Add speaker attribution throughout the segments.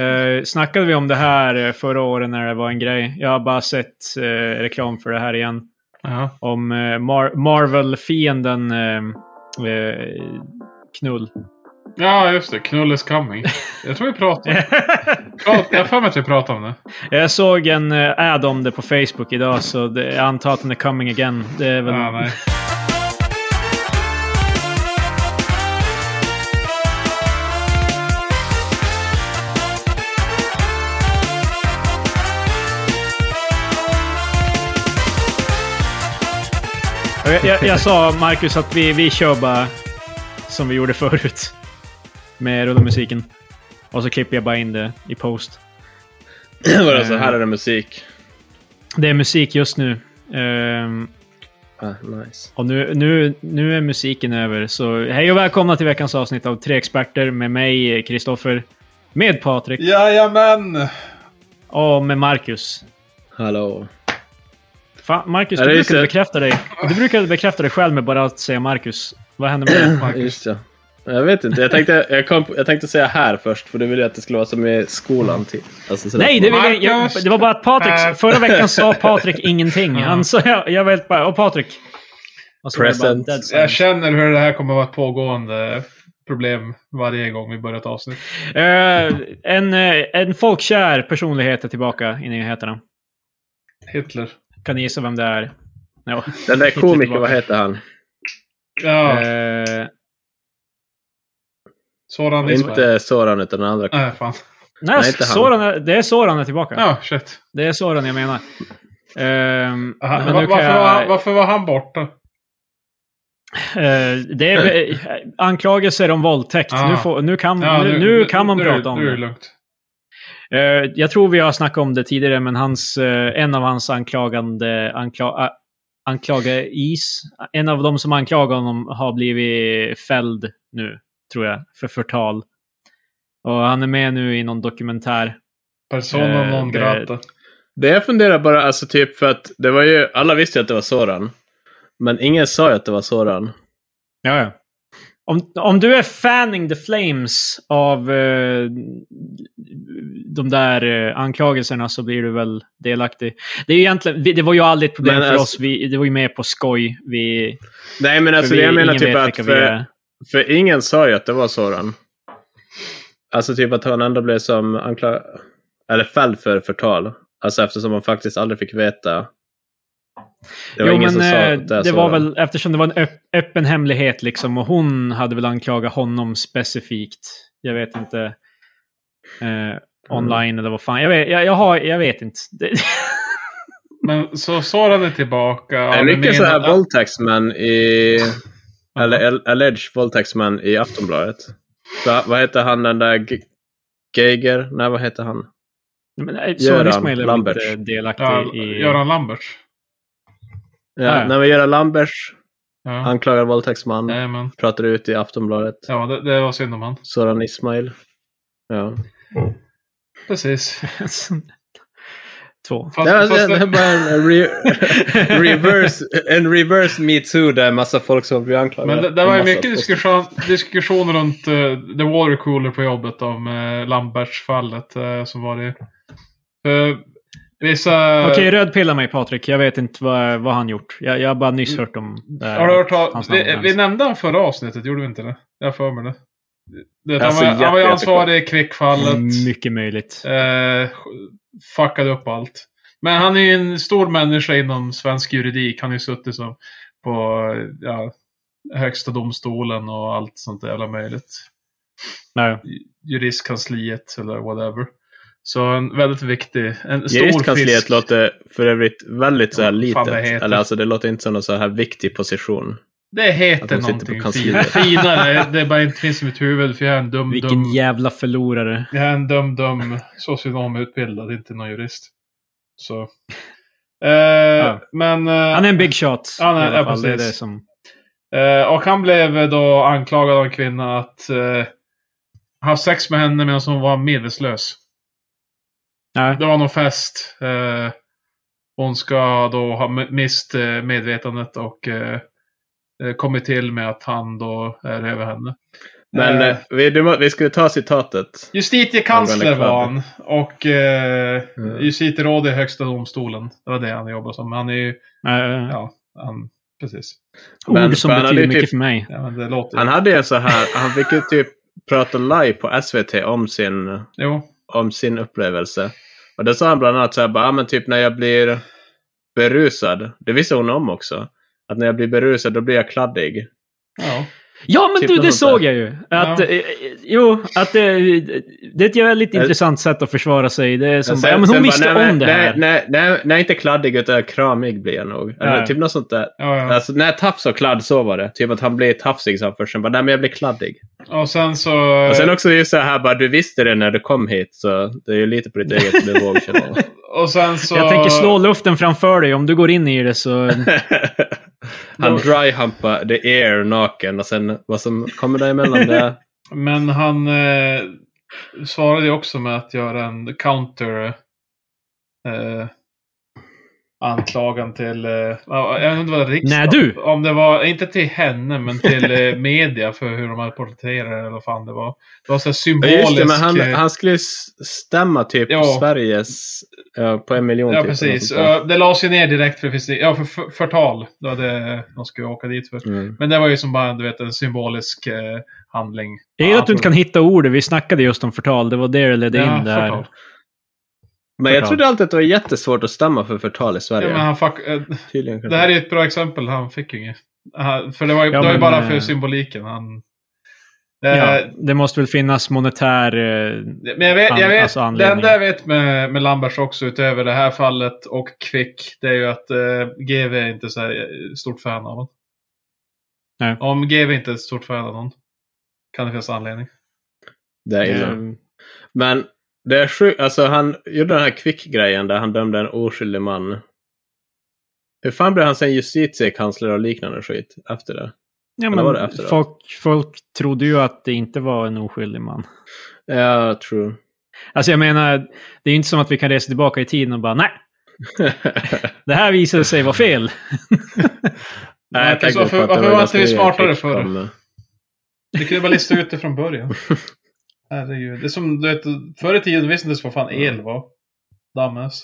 Speaker 1: Eh, snackade vi om det här eh, förra året när det var en grej? Jag har bara sett eh, reklam för det här igen.
Speaker 2: Ja.
Speaker 1: Om eh, Mar- Marvel-fienden eh, eh, Knull.
Speaker 2: ja, just det. Knull is coming. Jag tror vi pratade prat, Jag har för mig att vi pratade om det.
Speaker 1: jag såg en eh, ad om det på Facebook idag så det, jag antar att den är coming again. Det är väl...
Speaker 2: Ja, nej.
Speaker 1: Jag, jag, jag sa, Marcus, att vi, vi kör bara som vi gjorde förut. Med rulla musiken. Och så klipper jag bara in det i post.
Speaker 3: Var det så
Speaker 1: Eh.
Speaker 3: här är det musik.
Speaker 1: Det är musik just nu. Ehm,
Speaker 3: Ah, nice.
Speaker 1: och nu, nu, nu är musiken över. Så hej och välkomna till veckans avsnitt av Tre Experter med mig, Kristoffer. Med Patrik
Speaker 2: Jajamän!
Speaker 1: och med Marcus.
Speaker 3: Hallå.
Speaker 1: Fan, Marcus,
Speaker 3: Ja,
Speaker 1: du
Speaker 3: det är
Speaker 1: brukade
Speaker 3: så-
Speaker 1: bekräfta dig. Du brukade bekräfta dig själv med bara att säga Marcus. Vad hände med det?
Speaker 2: Marcus.
Speaker 3: Just ja. Jag vet inte. Jag tänkte, jag, kom, på- jag tänkte säga här först, för du ville att det skulle vara som i skolan. Till. Alltså, sådär.
Speaker 1: Nej, det, var- jag,
Speaker 2: Marcus!
Speaker 1: jag, det var bara att Patrik...
Speaker 2: Äh.
Speaker 1: Förra veckan sa Patrik ingenting.
Speaker 2: Ja.
Speaker 1: Han sa... Jag, jag vet bara... Och Patrik. Och så var det bara
Speaker 3: Present.
Speaker 1: dead
Speaker 2: Jag
Speaker 1: silence.
Speaker 2: känner hur det här kommer att vara ett pågående problem varje gång vi börjar ett avsnitt.
Speaker 1: Eh, en, eh, en folkkär personlighet är tillbaka i nyheterna.
Speaker 2: Hitler.
Speaker 1: Kan ni gissa vem det är? No.
Speaker 3: Den där komikern, vad heter han?
Speaker 2: Ja,
Speaker 1: Eh,
Speaker 2: sådan Ismail.
Speaker 3: Inte Soran, utan den andra.
Speaker 2: Nej, fan.
Speaker 1: nej,
Speaker 3: inte han.
Speaker 1: Soran är, det är Soran är tillbaka.
Speaker 2: Ja, shit.
Speaker 1: Det är Soran jag menar. Ehm,
Speaker 2: Aha,
Speaker 1: men
Speaker 2: va-
Speaker 1: nu kan
Speaker 2: varför,
Speaker 1: jag- Mm,
Speaker 2: var han, varför var han borta?
Speaker 1: Eh, det är eh, anklagelser om våldtäkt.
Speaker 2: Ah.
Speaker 1: Nu, får, nu, kan,
Speaker 2: Ja,
Speaker 1: nu, nu kan man
Speaker 2: nu,
Speaker 1: prata om
Speaker 2: nu, nu är
Speaker 1: det.
Speaker 2: det. lugnt.
Speaker 1: Eh, jag tror vi har snackat om det tidigare, men hans, eh, en av hans anklagande ankla, uh, anklageis, en av de som anklagar honom har blivit fälld nu, tror jag, för förtal. Och han är med nu i någon dokumentär.
Speaker 2: Persona
Speaker 1: Eh,
Speaker 2: non
Speaker 1: det-
Speaker 2: grata.
Speaker 3: Det jag funderar bara, alltså typ för att det var ju, alla visste ju att det var Soran. Men ingen sa ju att det var Soran.
Speaker 1: Ja, ja. Om, om du är fanning the flames av eh, de där eh, anklagelserna så blir du väl delaktig. Det, är ju egentligen, vi- det var ju aldrig ett problem
Speaker 3: Men
Speaker 1: för
Speaker 3: alltså-
Speaker 1: oss. Vi, det var ju med på skoj. Vi,
Speaker 3: Nej men alltså
Speaker 1: för
Speaker 3: det
Speaker 1: vi,
Speaker 3: jag menar
Speaker 1: ingen
Speaker 3: typ
Speaker 1: vet
Speaker 3: att,
Speaker 1: vilka vi
Speaker 3: för,
Speaker 1: är.
Speaker 3: för ingen sa ju att det var Soran. Alltså typ att han ändå blev som anklagad, eller fälld för förtal. Alltså eftersom han faktiskt aldrig fick veta. Det var
Speaker 1: jo,
Speaker 3: ingen
Speaker 1: men
Speaker 3: som sa
Speaker 1: eh,
Speaker 3: att det, är
Speaker 1: det var
Speaker 3: Soran.
Speaker 1: väl eftersom det var en öpp, öppen hemlighet liksom och hon hade väl anklagat honom specifikt. Jag vet inte. Eh,
Speaker 3: Mm.
Speaker 1: online eller vad fan. Jag vet, jag, jag har, jag vet inte. Det,
Speaker 2: Men så Soran är tillbaka.
Speaker 3: Det är
Speaker 2: men
Speaker 3: mycket så här
Speaker 2: menar-
Speaker 3: våldtäktsmän i... Eller al- alleged våldtäktsmän i Aftonbladet. Så, vad heter han den där Ge- Geiger? Nej, vad heter han?
Speaker 1: men, eh, Soran
Speaker 3: Göran
Speaker 1: Ismail är väl
Speaker 3: Lambert.
Speaker 1: inte delaktig
Speaker 2: Ja,
Speaker 1: i...
Speaker 2: Göran Lamberts.
Speaker 3: Ja,
Speaker 1: Ah.
Speaker 3: när vi gör Lambers
Speaker 2: Ja.
Speaker 3: anklagar våldtäktsman.
Speaker 2: Nej, men.
Speaker 3: Pratar ut i Aftonbladet.
Speaker 2: Ja, det, det var synd om han.
Speaker 3: Soran Ismail. Ja.
Speaker 2: Precis.
Speaker 1: Två.
Speaker 2: Fast,
Speaker 3: det, var,
Speaker 2: fast
Speaker 3: det, det var bara en re, reverse, en reverse metoo där en massa folk som blir anklagade.
Speaker 2: men det, det var ju
Speaker 3: En massa
Speaker 2: mycket
Speaker 3: folk.
Speaker 2: diskussion, diskussion runt eh, the water cooler på jobbet om uh, Lamberts-fallet eh, som var det. Eh, vissa...
Speaker 1: Okej, rödpilla mig Patrik. Jag vet inte vad, vad han gjort. Jag, jag har bara nyss hört om det här.
Speaker 2: Mm. Har du hört tal-
Speaker 1: Hans namn
Speaker 2: vi,
Speaker 1: nämns.
Speaker 2: vi nämnde han förra avsnittet, gjorde vi inte det? Jag har för mig det. det
Speaker 3: Alltså,
Speaker 2: han, var, han var ju
Speaker 3: jätte-
Speaker 2: ansvarig i kvickfallet.
Speaker 1: Mm, Mycket möjligt.
Speaker 2: Eh, fuckade upp allt. Men han är ju en stor människa inom svensk juridik. Han har ju suttit som på ja, högsta domstolen och allt sånt där jävla möjligt.
Speaker 1: Nej.
Speaker 2: Juristkansliet eller whatever. Så en väldigt viktig, en stor
Speaker 3: Juristkansliet
Speaker 2: fisk.
Speaker 3: låter för övrigt väldigt så här
Speaker 2: Ja,
Speaker 3: litet.
Speaker 2: vad fan det heter.
Speaker 3: Eller alltså det låter inte som någon så här viktig position.
Speaker 2: Det
Speaker 3: Att
Speaker 2: heter
Speaker 3: de sitter på
Speaker 2: någonting fin,
Speaker 3: kansliet.
Speaker 2: finare. Det är bara inte finns i mitt huvud för jag är en dum,
Speaker 1: Vilken
Speaker 2: dum
Speaker 1: jävla förlorare.
Speaker 2: Jag är en dum, dum socionomutbildad, inte någon jurist. Så. Eh, Men... Eh,
Speaker 1: Han är en big shot.
Speaker 2: Han är-
Speaker 1: i alla
Speaker 2: ja,
Speaker 1: fall. det är
Speaker 2: precis.
Speaker 1: det som...
Speaker 2: eh, och han blev då anklagad av en kvinna att eh, haft sex med henne medan hon var medvetslös.
Speaker 1: Nej.
Speaker 2: Det var någon fest. Eh, hon ska då ha m- mist eh, medvetandet och eh, eh, kommit till med att han då är över henne.
Speaker 3: Men
Speaker 2: Eh.
Speaker 3: eh, vi, du, må- vi skulle ta citatet.
Speaker 2: Justitiekansler
Speaker 3: Angående
Speaker 2: var han. Och eh,
Speaker 3: Mm.
Speaker 2: justitieråd i högsta domstolen. Det var det han jobbade som. Han är ju,
Speaker 1: Eh,
Speaker 2: ja, han, precis.
Speaker 3: men-
Speaker 1: ord som
Speaker 3: men han är
Speaker 1: betyder
Speaker 3: ju
Speaker 1: mycket
Speaker 3: typ-
Speaker 1: för mig.
Speaker 2: Ja, men det låter
Speaker 3: Han hade ju så här, han fick ju typ prata live på SVT om sin,
Speaker 2: Jo,
Speaker 3: om sin upplevelse. Och då sa han bland annat så här, bara, ah, men typ när jag blir berusad. Det visste hon om också. Att när jag blir berusad då blir jag kladdig.
Speaker 2: ja.
Speaker 1: Ja, men
Speaker 3: Typ
Speaker 1: du,
Speaker 3: något
Speaker 1: det
Speaker 3: sånt där.
Speaker 1: såg jag ju. Att,
Speaker 2: Ja.
Speaker 1: eh, eh, Jo, att eh, det är ett väldigt
Speaker 3: Eh.
Speaker 1: intressant sätt att försvara sig. Det är som,
Speaker 3: Sen-
Speaker 1: ja, men
Speaker 3: sen
Speaker 1: hon
Speaker 3: bara,
Speaker 1: visste
Speaker 3: nej, men-
Speaker 1: om det
Speaker 3: nej,
Speaker 1: här.
Speaker 3: Nej, nej, nej, inte kladdig utan kramig blir jag nog. Eller
Speaker 1: Ja.
Speaker 3: typ något sånt där.
Speaker 2: ja, ja.
Speaker 3: Alltså, nej, tafs och kladd, så var det. Typ att han blev tafsig som först, sen bara, nej men jag blev kladdig.
Speaker 2: Och sen så...
Speaker 3: Och sen också just så här, bara, du visste det när du kom hit, så det är ju lite på ditt eget bevåg. känner jag.
Speaker 2: och sen så...
Speaker 1: Jag tänker slå luften framför dig. Om du går in i det så...
Speaker 3: Han dryhumpade the air naken och sen vad som kommer däremellan det...
Speaker 2: Men han eh, svarade ju också med att göra en counter eh, anklagan till, eh, jag vet inte vad det var, riksdagen.
Speaker 1: Nej, du!
Speaker 2: Om det var, inte till henne, men till eh, media för hur de hade porträtterat det eller vad fan det var. Det var så här
Speaker 3: Ja,
Speaker 2: symbolisk.
Speaker 3: just det, men han,
Speaker 2: eh,
Speaker 3: han skulle ju s- stämma typ
Speaker 2: Ja.
Speaker 3: Sveriges ja, på en miljon.
Speaker 2: ja,
Speaker 3: typ,
Speaker 2: precis.
Speaker 3: eller något
Speaker 2: Eh, Det lades ju ner direkt för, det finns- ja, för för- förtal. Det var det de skulle åka dit för.
Speaker 3: sånt där. Mm.
Speaker 2: Men det var ju som bara du vet, en symbolisk eh, handling.
Speaker 1: Jag gillar att du inte kan hitta ordet. Vi snackade just om förtal. Det var det det ledde
Speaker 2: Ja,
Speaker 1: in där.
Speaker 2: förtal.
Speaker 3: Men jag
Speaker 1: Förtal.
Speaker 3: trodde alltid att det var jättesvårt att stämma för förtal i
Speaker 2: Ja,
Speaker 3: Sverige.
Speaker 2: men han fuck, eh,
Speaker 3: Tydligen kan
Speaker 2: Det här är ett bra exempel. Han fick ju inget. Aha, För det var ju,
Speaker 1: Ja,
Speaker 2: det var
Speaker 1: men,
Speaker 2: ju bara
Speaker 1: eh,
Speaker 2: för symboliken. Han, Eh,
Speaker 1: Ja, det måste väl finnas monetär... eh,
Speaker 2: Men jag vet, jag
Speaker 1: An-
Speaker 2: vet
Speaker 1: alltså
Speaker 2: det
Speaker 1: anledningen.
Speaker 2: enda jag vet med, med Lambers också utöver det här fallet och Quick, det är ju att eh, GV är inte så här, eh, stort fan av honom.
Speaker 1: Nej.
Speaker 2: Om GV inte är ett stort fan av någon kan det finnas anledning.
Speaker 3: Det är illa.
Speaker 1: Mm.
Speaker 3: Men det är sjukt, alltså han gjorde den här kvick-grejen där han dömde en oskyldig man. Hur fan blev han sen justitiekansler och liknande skit efter det?
Speaker 1: Ja,
Speaker 3: Eller var det
Speaker 1: men
Speaker 3: efteråt?
Speaker 1: folk, folk trodde ju att det inte var en oskyldig man.
Speaker 3: Ja, true.
Speaker 1: Alltså jag menar, det är ju inte som att vi kan resa tillbaka i tiden och bara nej, det här visade sig vara fel.
Speaker 3: Nej, jag
Speaker 2: Marcus,
Speaker 3: tänkte
Speaker 2: varför-
Speaker 3: på att det
Speaker 2: varför var inte vi
Speaker 3: ganska
Speaker 2: smartare
Speaker 3: Kvick
Speaker 2: förr?
Speaker 3: kom med.
Speaker 2: Vi kunde bara lista ut det från början. Herregud. Det är som du vet, förr i tiden visste inte ens vad fan el var. Dammes.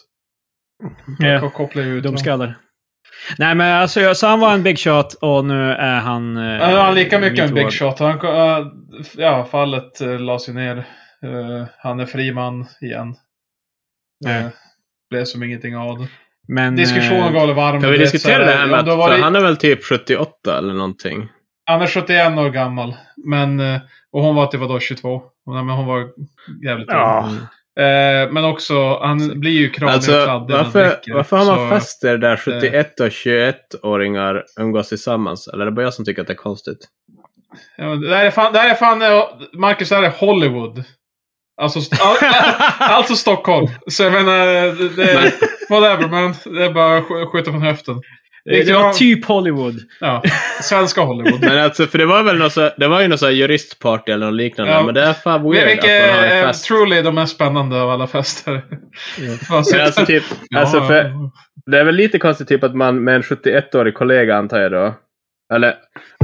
Speaker 1: Ja,
Speaker 2: Koppla ut dem.
Speaker 1: dumskallar. Nej men alltså, jag- så han var en big shot och nu är han... eh,
Speaker 2: Ja, nu har han lika mycket en
Speaker 1: metoo-ad.
Speaker 2: big shot. Han, ko- eh, ja, fallet uh, lades ju ner. Eh, han är fri man igen.
Speaker 1: Ja.
Speaker 2: Eh, blev som ingenting av det.
Speaker 1: Men,
Speaker 2: Diskussionen
Speaker 1: eh,
Speaker 2: går varm.
Speaker 3: Mm, Kan vi
Speaker 2: du vet, så
Speaker 3: diskutera det här med
Speaker 2: om
Speaker 3: att
Speaker 2: du har
Speaker 3: för
Speaker 2: varit,
Speaker 3: han är väl typ 78 eller någonting?
Speaker 2: han är 71 år gammal. Men, eh, och hon var typ vadå, 22? Nej, men hon var jävligt ung.
Speaker 1: Ja.
Speaker 2: Eh, men också, han blir ju kramig och
Speaker 3: Alltså,
Speaker 2: kladdig. när han
Speaker 3: varför,
Speaker 2: dricker,
Speaker 3: varför har man
Speaker 2: så-
Speaker 3: fester där 71 och 21-åringar umgås tillsammans? Eller är det bara jag som tycker att det är konstigt?
Speaker 2: Ja, men det här är fan, det här är fan eh, Marcus, det här är Hollywood. Alltså, st- all- alltså Stockholm. Så jag menar, det, det, whatever man. Det är bara att sk- skjuta från höften.
Speaker 1: Det
Speaker 3: liksom
Speaker 1: var typ Hollywood.
Speaker 2: Ja, svenska Hollywood.
Speaker 3: Men alltså, för det var väl något så, det var ju något så här juristparty eller något liknande.
Speaker 2: Ja.
Speaker 3: Men det är fan
Speaker 2: Men
Speaker 3: weird
Speaker 2: Vilket eh,
Speaker 3: att man har en
Speaker 2: är
Speaker 3: fest.
Speaker 2: truly de mest spännande av alla fester. Fan, så-
Speaker 3: Men alltså, typ,
Speaker 2: Ja,
Speaker 3: alltså
Speaker 2: ja,
Speaker 3: för,
Speaker 2: ja.
Speaker 3: det är väl lite konstigt typ att man med en 71-årig kollega antar jag då. Eller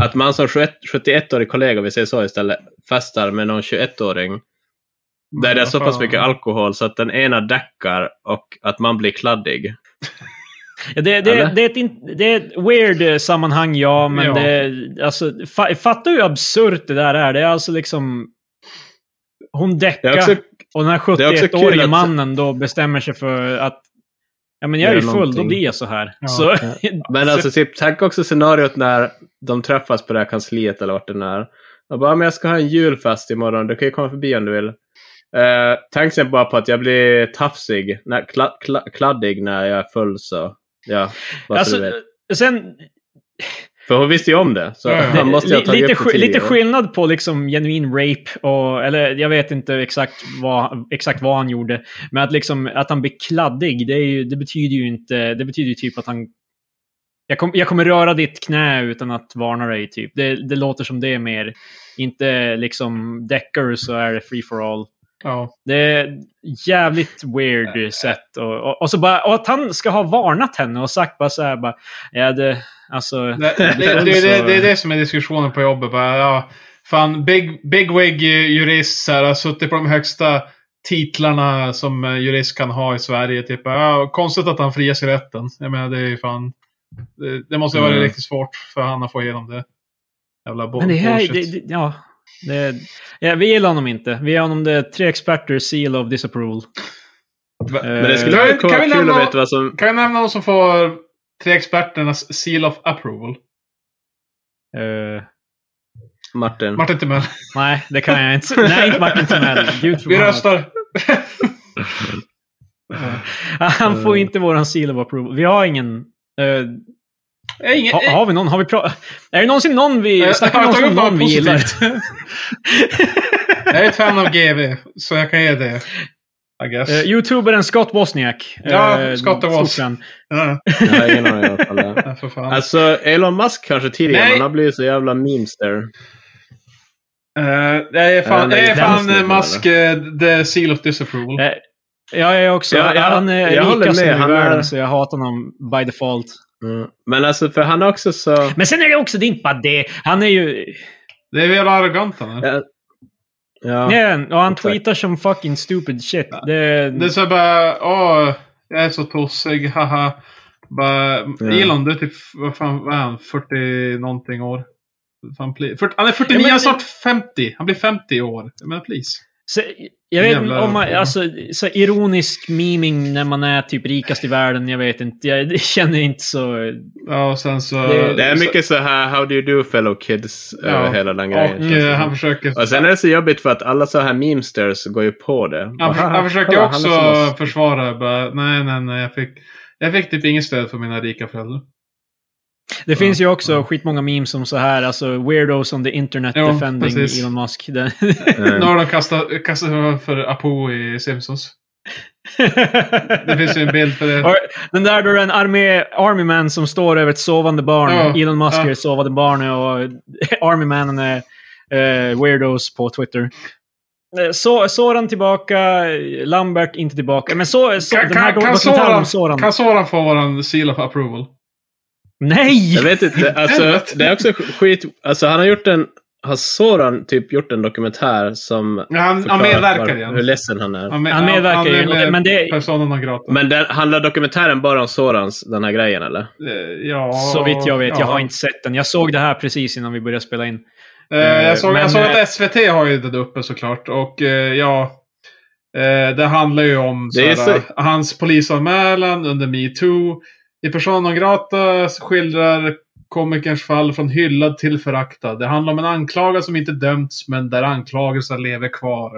Speaker 3: att man som 21 71-årig kollega, om vi säger så istället, festar med någon 21-åring. Där det är så pass mycket alkohol så att den ena däckar och att man blir kladdig.
Speaker 1: Ja, Det, det,
Speaker 3: Eller?
Speaker 1: det, är ett in, det är ett weird eh, sammanhang, ja, men
Speaker 2: Ja.
Speaker 1: det... Alltså, fa, fattar du hur absurt det där är? Det är alltså liksom... Hon
Speaker 3: Det
Speaker 1: däckar
Speaker 3: är också
Speaker 1: och den här
Speaker 3: det är också kul
Speaker 1: 71-årige
Speaker 3: att-
Speaker 1: mannen då bestämmer sig för att... Ja, men jag är ju
Speaker 3: Göra
Speaker 1: full, då
Speaker 3: någonting.
Speaker 1: blir jag så här.
Speaker 2: Ja.
Speaker 1: så,
Speaker 3: Men alltså, typ, tänk också scenariot när de träffas på det här kansliet eller vart den är. Och bara, men jag ska ha en julfest imorgon, du kan ju komma förbi om du vill. Eh, tänk sen bara på att jag blir tafsig, när, kla, kla, kladdig när jag är full så. Ja, vad
Speaker 1: alltså,
Speaker 3: du vet.
Speaker 1: sen,
Speaker 3: För hon visste ju om det. Så
Speaker 2: Ja, ja.
Speaker 3: han måste ju ha
Speaker 1: li,
Speaker 3: tagit
Speaker 1: lite,
Speaker 3: upp det
Speaker 1: sk, lite
Speaker 3: tidigare.
Speaker 1: skillnad på liksom genuin rape och... Eller jag vet inte exakt vad, exakt vad han gjorde. Men att, liksom, att han blir kladdig, det, är ju, det betyder ju inte... Det betyder ju typ att han... Jag, kom, jag kommer röra ditt knä utan att varna dig, typ. Det, det låter som det är mer. Inte liksom däckar så är det free for all.
Speaker 2: Ja.
Speaker 1: Det är jävligt weird sätt. Och, och, och, så bara, och att han ska ha varnat henne och sagt bara så här bara, ja det, alltså,
Speaker 2: Det, det, det, det, det är det som är diskussionen på jobbet. Bara, ja, Fan, big, bigwig eh, jurist så här, har suttit på de högsta titlarna som eh, jurist kan ha i Sverige. Typ, ja, konstigt att han frias i rätten. Jag menar, det är ju fan... Det, det måste ju vara
Speaker 3: Mm.
Speaker 2: riktigt svårt för han att få igenom det. Jävla bo-
Speaker 1: Men det här,
Speaker 2: bullshit.
Speaker 1: det, det, ja. Det, ja, vi gillar honom inte. Vi ger honom det tre experter, seal of disapproval.
Speaker 2: Va-
Speaker 1: Eh,
Speaker 3: Men det skulle
Speaker 2: Eh,
Speaker 3: vara
Speaker 2: kan vi
Speaker 3: kul
Speaker 2: lämna-
Speaker 3: att veta vad som...
Speaker 2: Kan jag nämna någon som får tre experternas seal of approval?
Speaker 1: Mm. eh,
Speaker 3: Martin.
Speaker 2: Martin Timell.
Speaker 1: nej, det kan jag inte. Nej, inte Martin Timell. Gud
Speaker 2: Vi
Speaker 1: förbannat.
Speaker 2: röstar.
Speaker 1: Han får inte våran seal of approval. Vi har ingen... eh,
Speaker 2: Nej, Ingen,
Speaker 1: ha, har vi någon? Har vi pra- är det någonsin någon vi...
Speaker 2: Jag-
Speaker 1: Snackar
Speaker 2: jag
Speaker 1: vi
Speaker 2: Eh, har
Speaker 1: någonsin om
Speaker 2: tagit upp
Speaker 1: någon vi
Speaker 2: något
Speaker 1: gillar?
Speaker 2: jag är ett fan av GV, så jag kan ge det. I guess.
Speaker 1: Eh, Youtuberen Scott Bosniak.
Speaker 2: Ja,
Speaker 1: Eh,
Speaker 2: Scott
Speaker 1: stort
Speaker 2: Bos-
Speaker 1: fan.
Speaker 2: Ja,
Speaker 3: Jag har ingen aning i alla fall. där.
Speaker 2: ja, för fan.
Speaker 3: Alltså, Elon Musk kanske tidigare,
Speaker 2: Nej.
Speaker 3: men han blir ju så jävla memester.
Speaker 2: Eh, jag är fan,
Speaker 3: Eh,
Speaker 2: jag är
Speaker 3: den
Speaker 2: fan
Speaker 3: snubben,
Speaker 2: eh, Musk, eh, the seal of disapproval.
Speaker 1: Eh, Ja, jag är också.
Speaker 3: Ja, jag-
Speaker 1: han
Speaker 3: jag
Speaker 1: är
Speaker 3: håller
Speaker 1: rikast
Speaker 3: med.
Speaker 1: i
Speaker 3: Han är-
Speaker 1: världen, så jag hatar honom by default.
Speaker 3: Mm. Men alltså, för han är också så...
Speaker 1: Men sen är det också, det är inte bara det. Han är ju...
Speaker 2: Det är väl arrogant han är.
Speaker 3: Ja.
Speaker 1: nej, och han
Speaker 3: exakt.
Speaker 1: tweetar som fucking stupid shit. Det,
Speaker 2: Det är så här bara, åh, jag är så tossig, haha. Bara, Elon, du är typ, vad fan vad är han, 40 någonting år? Fan, pli- 40, han är 49,
Speaker 1: Ja, men-
Speaker 2: snart 50. Han blir 50 i år. Men please.
Speaker 1: så, jag vet inte
Speaker 2: Jävla-
Speaker 1: om man, alltså, så ironisk memeing när man är typ rikast i världen, jag vet inte. Jag känner inte så...
Speaker 2: Ja, och sen så...
Speaker 1: Det-
Speaker 3: Det är mycket så här, how do you do fellow kids,
Speaker 2: Ja.
Speaker 3: över hela den
Speaker 2: Och
Speaker 3: grejen.
Speaker 2: eh,
Speaker 3: känns det
Speaker 2: han
Speaker 3: som.
Speaker 2: försöker...
Speaker 3: och sen är det så jobbigt för att alla så här memesters går ju på det.
Speaker 2: Han,
Speaker 3: Bara,
Speaker 2: för,
Speaker 3: "Haha,
Speaker 2: han försöker
Speaker 3: kolla,
Speaker 2: också
Speaker 3: han är som oss."
Speaker 2: försvara. Bara, nej, nej, nej. Jag fick, jag fick typ inget stöd från mina rika föräldrar.
Speaker 1: Det finns ju också skitmånga memes om så här, alltså weirdos on the internet
Speaker 2: Jo,
Speaker 1: defending
Speaker 2: precis.
Speaker 1: Elon Musk. Den-
Speaker 3: Mm.
Speaker 2: Nu har de kastat, kastat för Apo i Simpsons. Det finns ju en bild för det.
Speaker 1: Och Den där då är en army, army man som står över ett sovande barn.
Speaker 2: Ja,
Speaker 1: Elon Musk
Speaker 2: ja.
Speaker 1: är ett sovande barn och army mannen är eh, weirdos på Twitter. Eh, Så, Soran tillbaka, Lambert inte tillbaka. Men så, så,
Speaker 2: Kan,
Speaker 1: den här kan,
Speaker 2: kan, kan,
Speaker 1: dokumentären
Speaker 2: Soran,
Speaker 1: om Soran.
Speaker 2: kan Soran få våran seal of approval?
Speaker 1: Nej!
Speaker 3: Jag vet inte, alltså det är också skit... Alltså han har gjort en... Har Soran typ gjort en dokumentär som...
Speaker 2: Ja, Han, han
Speaker 3: förklarar
Speaker 2: medverkar
Speaker 3: var-
Speaker 2: igen.
Speaker 3: Hur ledsen han är.
Speaker 2: med-
Speaker 1: Han medverkar
Speaker 2: han är
Speaker 1: ju,
Speaker 2: med
Speaker 1: men det-
Speaker 2: Persona non grata.
Speaker 3: Men den, handlar dokumentären bara om Sorans, den här grejen eller?
Speaker 2: Eh, ja,
Speaker 1: Så vitt jag vet,
Speaker 2: ja.
Speaker 1: jag har inte sett den. Jag såg det här precis innan vi började spela in.
Speaker 2: Eh, jag såg,
Speaker 1: Men,
Speaker 2: jag såg
Speaker 1: eh,
Speaker 2: att SVT har ju det uppe såklart. Och eh, ja, eh, det handlar ju om
Speaker 3: Det är
Speaker 2: såhär,
Speaker 3: så-
Speaker 2: hans polisanmälan under metoo. I Persona non grata skildrar komikerns fall från hyllad till föraktad. Det handlar om en anklagad som inte dömts men där anklagelsen lever kvar.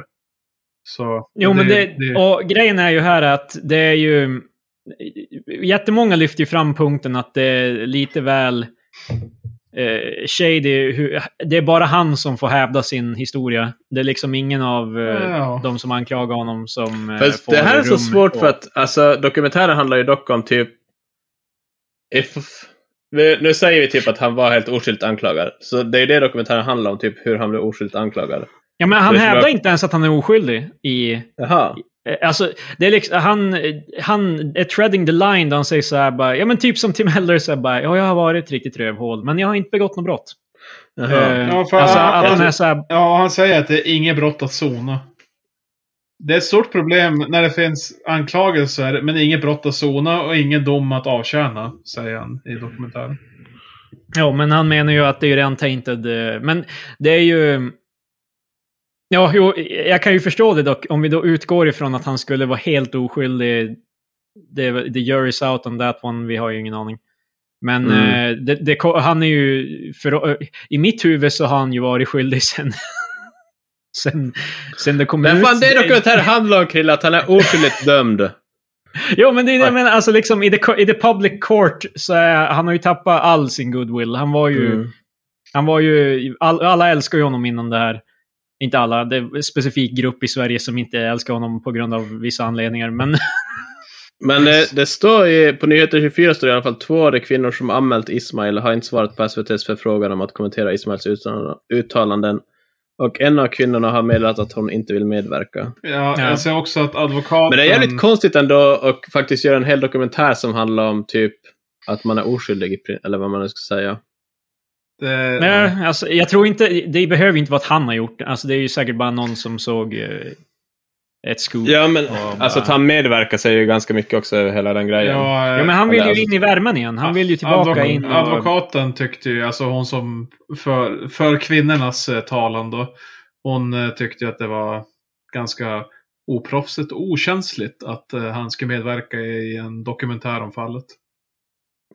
Speaker 2: Så,
Speaker 1: Jo, men det,
Speaker 2: det-
Speaker 1: och grejen är ju här att det är ju... Jättemånga lyfter ju fram punkten att det är lite väl eh, shady. Hur, det är bara han som får hävda sin historia. Det är liksom ingen av eh,
Speaker 2: Ja.
Speaker 1: de som anklagar honom som eh,
Speaker 3: Fast
Speaker 1: får
Speaker 3: det här är så
Speaker 1: rum
Speaker 3: svårt
Speaker 1: på-
Speaker 3: för att alltså, dokumentären handlar ju dock om typ... If, nu, nu säger vi typ att han var helt oskyldigt anklagad. Så det är ju det dokumentären handlar om, typ hur han blev oskyldigt anklagad.
Speaker 1: Ja, men han
Speaker 3: Det är så
Speaker 1: hävdar
Speaker 3: bra.
Speaker 1: inte ens att han är oskyldig i...
Speaker 3: Jaha.
Speaker 1: Eh, Alltså, det är liksom, han, han är treading the line då han säger så här bara, ja men typ som Tim Heller säger bara, ja jag har varit ett riktigt rövhål, men jag har inte begått något brott.
Speaker 3: jaha.
Speaker 1: Eh,
Speaker 2: Ja, för-
Speaker 1: alltså
Speaker 2: ja,
Speaker 1: att han
Speaker 2: ja.
Speaker 1: är så här,
Speaker 2: Ja, han säger att det är inget brott att zona. Det är ett stort problem när det finns anklagelser men inget brott att zona och ingen dom att avtjäna, säger han i dokumentären.
Speaker 1: Ja, men han menar ju att det är ju redan tainted. eh, Men det är ju... Ja, jo, jag kan ju förstå det dock. Om vi då utgår ifrån att han skulle vara helt oskyldig. Det, är- the jury's out on that one. Vi har ju ingen aning. Men
Speaker 3: Mm.
Speaker 1: eh, det, det, ko- han är ju... För, eh, I mitt huvud så har han ju varit skyldig sen... sen, sen det kom
Speaker 3: Men
Speaker 1: ut.
Speaker 3: fan, det dokumentären handlar om Krille, att han är oskyldigt dömd.
Speaker 1: Jo, men det är det jag menar. Alltså liksom i the, i the public court så är, han har ju tappat all sin goodwill. Han var ju...
Speaker 3: Mm.
Speaker 1: Han var ju, all, alla älskar ju honom innan det här. Inte alla, det är en specifik grupp i Sverige som inte älskar honom på grund av vissa anledningar.
Speaker 3: Mm.
Speaker 1: Men
Speaker 3: Men eh, det står i, på Nyheter 24 står det i alla fall två av de kvinnor som anmält Ismail har inte svarat på SVTs förfrågan om att kommentera Ismails uttalanden- uttalanden. Och en av kvinnorna har meddelat att hon inte vill medverka.
Speaker 2: Ja,
Speaker 1: Ja.
Speaker 2: Jag ser också att advokaten...
Speaker 3: Men det är jävligt konstigt ändå att faktiskt göra en hel dokumentär som handlar om typ att man är oskyldig, i pri- eller vad man nu ska säga.
Speaker 2: Det,
Speaker 1: Nej, alltså, jag tror inte, det behöver inte vara att han har gjort det. Alltså, det är ju säkert bara någon som såg eh, ett scoop.
Speaker 3: Ja, men
Speaker 1: Ja,
Speaker 3: alltså att han medverkar sig ju ganska mycket också över hela den grejen.
Speaker 2: Ja, eh,
Speaker 1: Ja, men han vill
Speaker 3: Eller,
Speaker 1: ju in i värmen igen. Han vill ju tillbaka
Speaker 2: advok-
Speaker 1: in. och-
Speaker 2: Advokaten tyckte ju, alltså hon som för, för kvinnornas eh, talan då, hon eh, tyckte ju att det var ganska oproffsigt och okänsligt att eh, han skulle medverka i en dokumentär om fallet.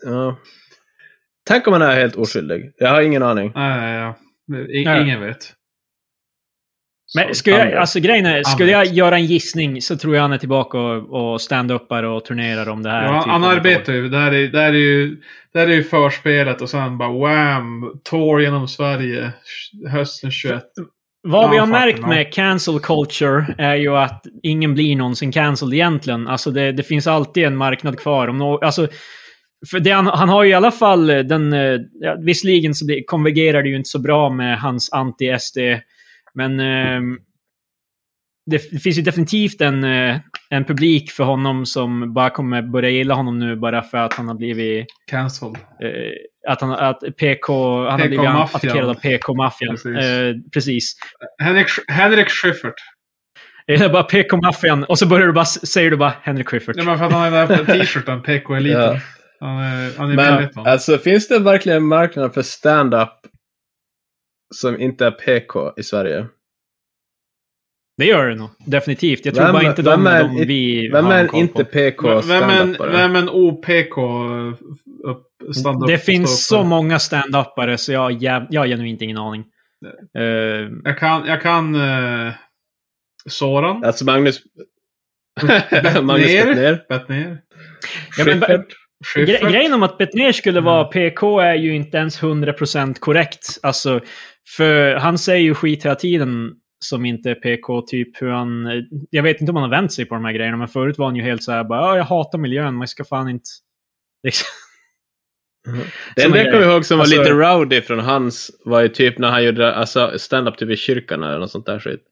Speaker 3: Ja. Tänk om han är helt oskyldig. Jag har ingen aning.
Speaker 2: Nej, ja, ja. I,
Speaker 1: Nej.
Speaker 2: ingen vet.
Speaker 1: Men skulle
Speaker 3: han
Speaker 1: jag,
Speaker 3: vet.
Speaker 1: alltså grejen är, skulle
Speaker 2: Han
Speaker 1: jag
Speaker 2: vet.
Speaker 1: göra en gissning så tror jag han är tillbaka och, och stand-upar och turnerar om det här.
Speaker 2: Ja,
Speaker 1: typ
Speaker 2: han
Speaker 1: om ett
Speaker 2: arbetar
Speaker 1: år.
Speaker 2: ju. Det här är, det här är ju, det här är ju förspelet och sen bara wham! Tour genom Sverige hösten 21.
Speaker 1: Vad vi
Speaker 2: Ja,
Speaker 1: har
Speaker 2: fan,
Speaker 1: märkt
Speaker 2: ja.
Speaker 1: med cancel culture är ju att ingen blir någonsin cancelled egentligen. Alltså det, det finns alltid en marknad kvar. Om no, alltså, för det, han, han har ju i alla fall eh, den... eh, Ja, visserligen så det, konvergerar det ju inte så bra med hans anti-SD. Men ehm, det, f- det finns ju definitivt en, eh, en publik för honom som bara kommer börja gilla honom nu bara för att han har blivit...
Speaker 2: Cancelled.
Speaker 1: Eh, att han, att PK, han har blivit
Speaker 2: PK-maffian.
Speaker 1: attackerad av PK-maffian.
Speaker 2: Precis.
Speaker 1: Eh, precis.
Speaker 2: Henrik, Sch- Henrik Schyffert.
Speaker 1: Jag är bara PK-maffian och så börjar du bara, säger du bara Henrik Schyffert.
Speaker 2: Nej, men för att han är där på t-shirten, PK-eliten.
Speaker 3: Ja.
Speaker 2: Han är, han är
Speaker 3: Men
Speaker 2: medveten.
Speaker 3: alltså finns det verkligen en marknad för stand-up som inte är PK i Sverige?
Speaker 1: Det gör det nog. Definitivt. Jag tror
Speaker 3: Vem-
Speaker 1: bara inte de,
Speaker 3: vem är-
Speaker 1: de vi
Speaker 3: Vem
Speaker 1: har
Speaker 3: är
Speaker 1: koll
Speaker 3: inte
Speaker 1: på.
Speaker 3: PK
Speaker 2: Men Vem är en,
Speaker 3: standupare?
Speaker 2: vem är en OPK eh, upp- standup?
Speaker 1: Det finns
Speaker 2: står
Speaker 1: så
Speaker 2: för?
Speaker 1: många stand-upare så jag, har jäv, jag har genuint ingen aning. Eh,
Speaker 2: Jag kan, jag kan eh, Soran.
Speaker 3: Alltså Magnus... Magnus
Speaker 2: Bettner.
Speaker 3: Bettner?
Speaker 2: Bettner.
Speaker 1: Ja, men-
Speaker 3: Schyffert?
Speaker 2: Schyffert.
Speaker 1: gre- grejen om att Bettner skulle
Speaker 2: Mm.
Speaker 1: vara PK är ju inte ens 100% korrekt. Alltså, för han säger ju skit hela tiden som inte är PK, typ hur han... eh, Jag vet inte om han har vänt sig på de här grejerna, men förut var han ju helt så här bara "Ja, jag hatar miljön, man ska fan inte... Liksom.
Speaker 3: Det
Speaker 1: Som
Speaker 3: enda
Speaker 1: en
Speaker 3: jag Mm. kommer
Speaker 1: grej.
Speaker 3: ihåg som var
Speaker 1: Alltså-
Speaker 3: lite rowdy från hans var ju typ när han gjorde alltså, stand-up typ i kyrkan eller något sånt där skit.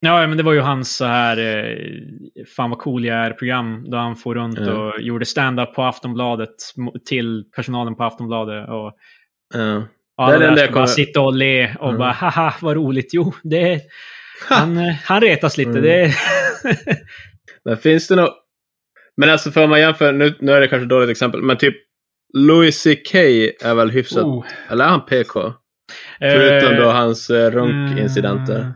Speaker 1: Ja, men det var ju hans så här eh, Fan vad cool jag är-program då han for runt
Speaker 3: Mm.
Speaker 1: och gjorde stand-up på Aftonbladet mo- till personalen på Aftonbladet. Och
Speaker 3: Ja.
Speaker 1: alla
Speaker 3: är det
Speaker 1: där
Speaker 3: jag
Speaker 1: ska bara
Speaker 3: kommer-
Speaker 1: sitta och le och
Speaker 3: Mm.
Speaker 1: bara haha vad roligt. Jo, det är... han, eh, han retas lite.
Speaker 3: Mm.
Speaker 1: Det är...
Speaker 3: Men finns det något... Men alltså för om man jämför, nu, nu är det kanske ett dåligt exempel, men typ Louis CK är väl hyfsat,
Speaker 2: Oh,
Speaker 3: eller är han PK? Förutom då
Speaker 1: Eh,
Speaker 3: hans eh, runkincidenter.
Speaker 2: mm.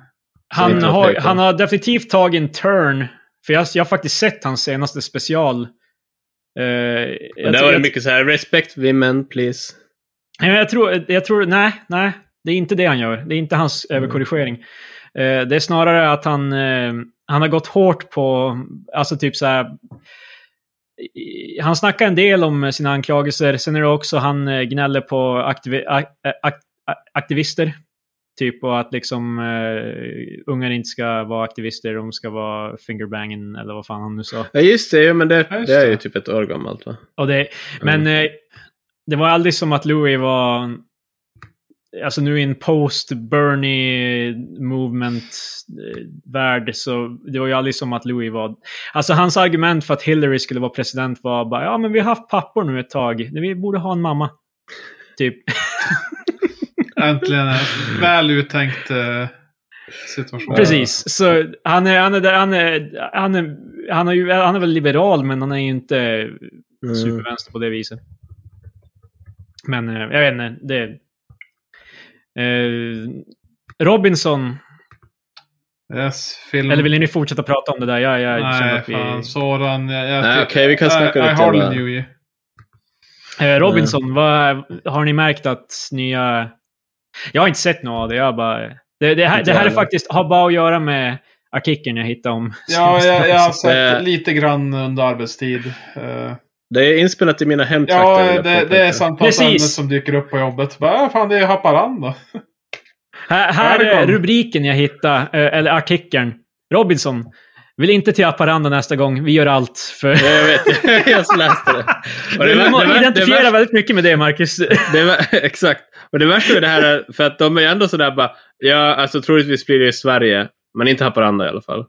Speaker 1: han,
Speaker 3: inte
Speaker 1: har,
Speaker 3: Patreon.
Speaker 1: han har definitivt tagit en turn. För jag, jag har faktiskt sett hans senaste special. Eh,
Speaker 3: Men
Speaker 1: jag, tror-
Speaker 3: där var det
Speaker 1: jag,
Speaker 3: mycket så här, respect women please.
Speaker 1: Nej, men jag tror, jag tror, nej, nej. Det är inte det han gör. Det är inte hans överkorrigering. Eh, det är snarare att han, eh, han har gått hårt på, alltså typ så här. i- Han snackar en del om eh, sina anklagelser. Sen är det också han eh, gnäller på aktivi, ak, ak, aktivister. Typ och att liksom eh, ungar inte ska vara aktivister, de ska vara fingerbanging eller vad fan han nu sa.
Speaker 3: Ja just det, ja, men det,
Speaker 2: Ja, just
Speaker 3: det är
Speaker 2: det.
Speaker 3: ju typ ett år gammalt va?
Speaker 1: Och det, men eh, det var aldrig som att Louis var... en- Alltså nu i en post-Bernie movement-värld så det var ju aldrig som att Louis var... Alltså hans argument för att Hillary skulle vara president var bara ja men vi har haft pappor nu ett tag, vi borde ha en mamma. Typ.
Speaker 2: Äntligen en väl uttänkt eh, situation.
Speaker 1: Precis. Så han är, han är, där- han är, han är, han är, ju- han är väl liberal men han är ju inte
Speaker 3: Mm.
Speaker 1: supervänster på det viset. Men eh, jag vet inte. Det, eh, Robinson,
Speaker 2: Yes, film.
Speaker 1: eller vill ni fortsätta prata om det där? Jag, jag känner
Speaker 2: Mm. Nej,
Speaker 1: att vi...
Speaker 2: fan. Soran. Jag, jag,
Speaker 3: Nej, okej, vi kan snacka
Speaker 2: I,
Speaker 3: lite
Speaker 2: I
Speaker 3: om
Speaker 2: hardly
Speaker 3: det.
Speaker 2: knew you.
Speaker 1: Eh, Robinson, vad, har ni märkt att nya... Jag har inte sett något av det. Jag bara... Det, det, här,
Speaker 3: Inte
Speaker 1: det här är
Speaker 3: heller.
Speaker 1: faktiskt, har bara att göra med artikeln jag hittade om.
Speaker 2: Ja, jag, jag har
Speaker 3: Eh.
Speaker 2: sett lite grann under arbetstid. Eh,
Speaker 3: Det är inspelat i mina hemtrakter. vill
Speaker 2: Ja,
Speaker 3: jag
Speaker 2: det, det
Speaker 3: påpeka.
Speaker 2: är samtalsämnet
Speaker 1: Precis.
Speaker 2: som dyker upp på jobbet. Bara, "Ah, fan, det är Haparanda.
Speaker 1: Här, här
Speaker 2: Här
Speaker 1: är
Speaker 2: kom.
Speaker 1: rubriken jag hittade, eh, eller artikeln. Robinson, vill inte till Haparanda nästa gång. Vi gör allt för...
Speaker 3: Ja, jag vet, jag läste det. Och det,
Speaker 1: Du
Speaker 3: var-
Speaker 1: må
Speaker 3: det, var- det,
Speaker 1: identifiera
Speaker 3: var-
Speaker 1: väldigt mycket med det, Marcus.
Speaker 3: det var, exakt. Och det värsta med det här är, för att de är ändå sådär bara, ja alltså troligtvis blir det i Sverige, men inte Haparanda i alla fall.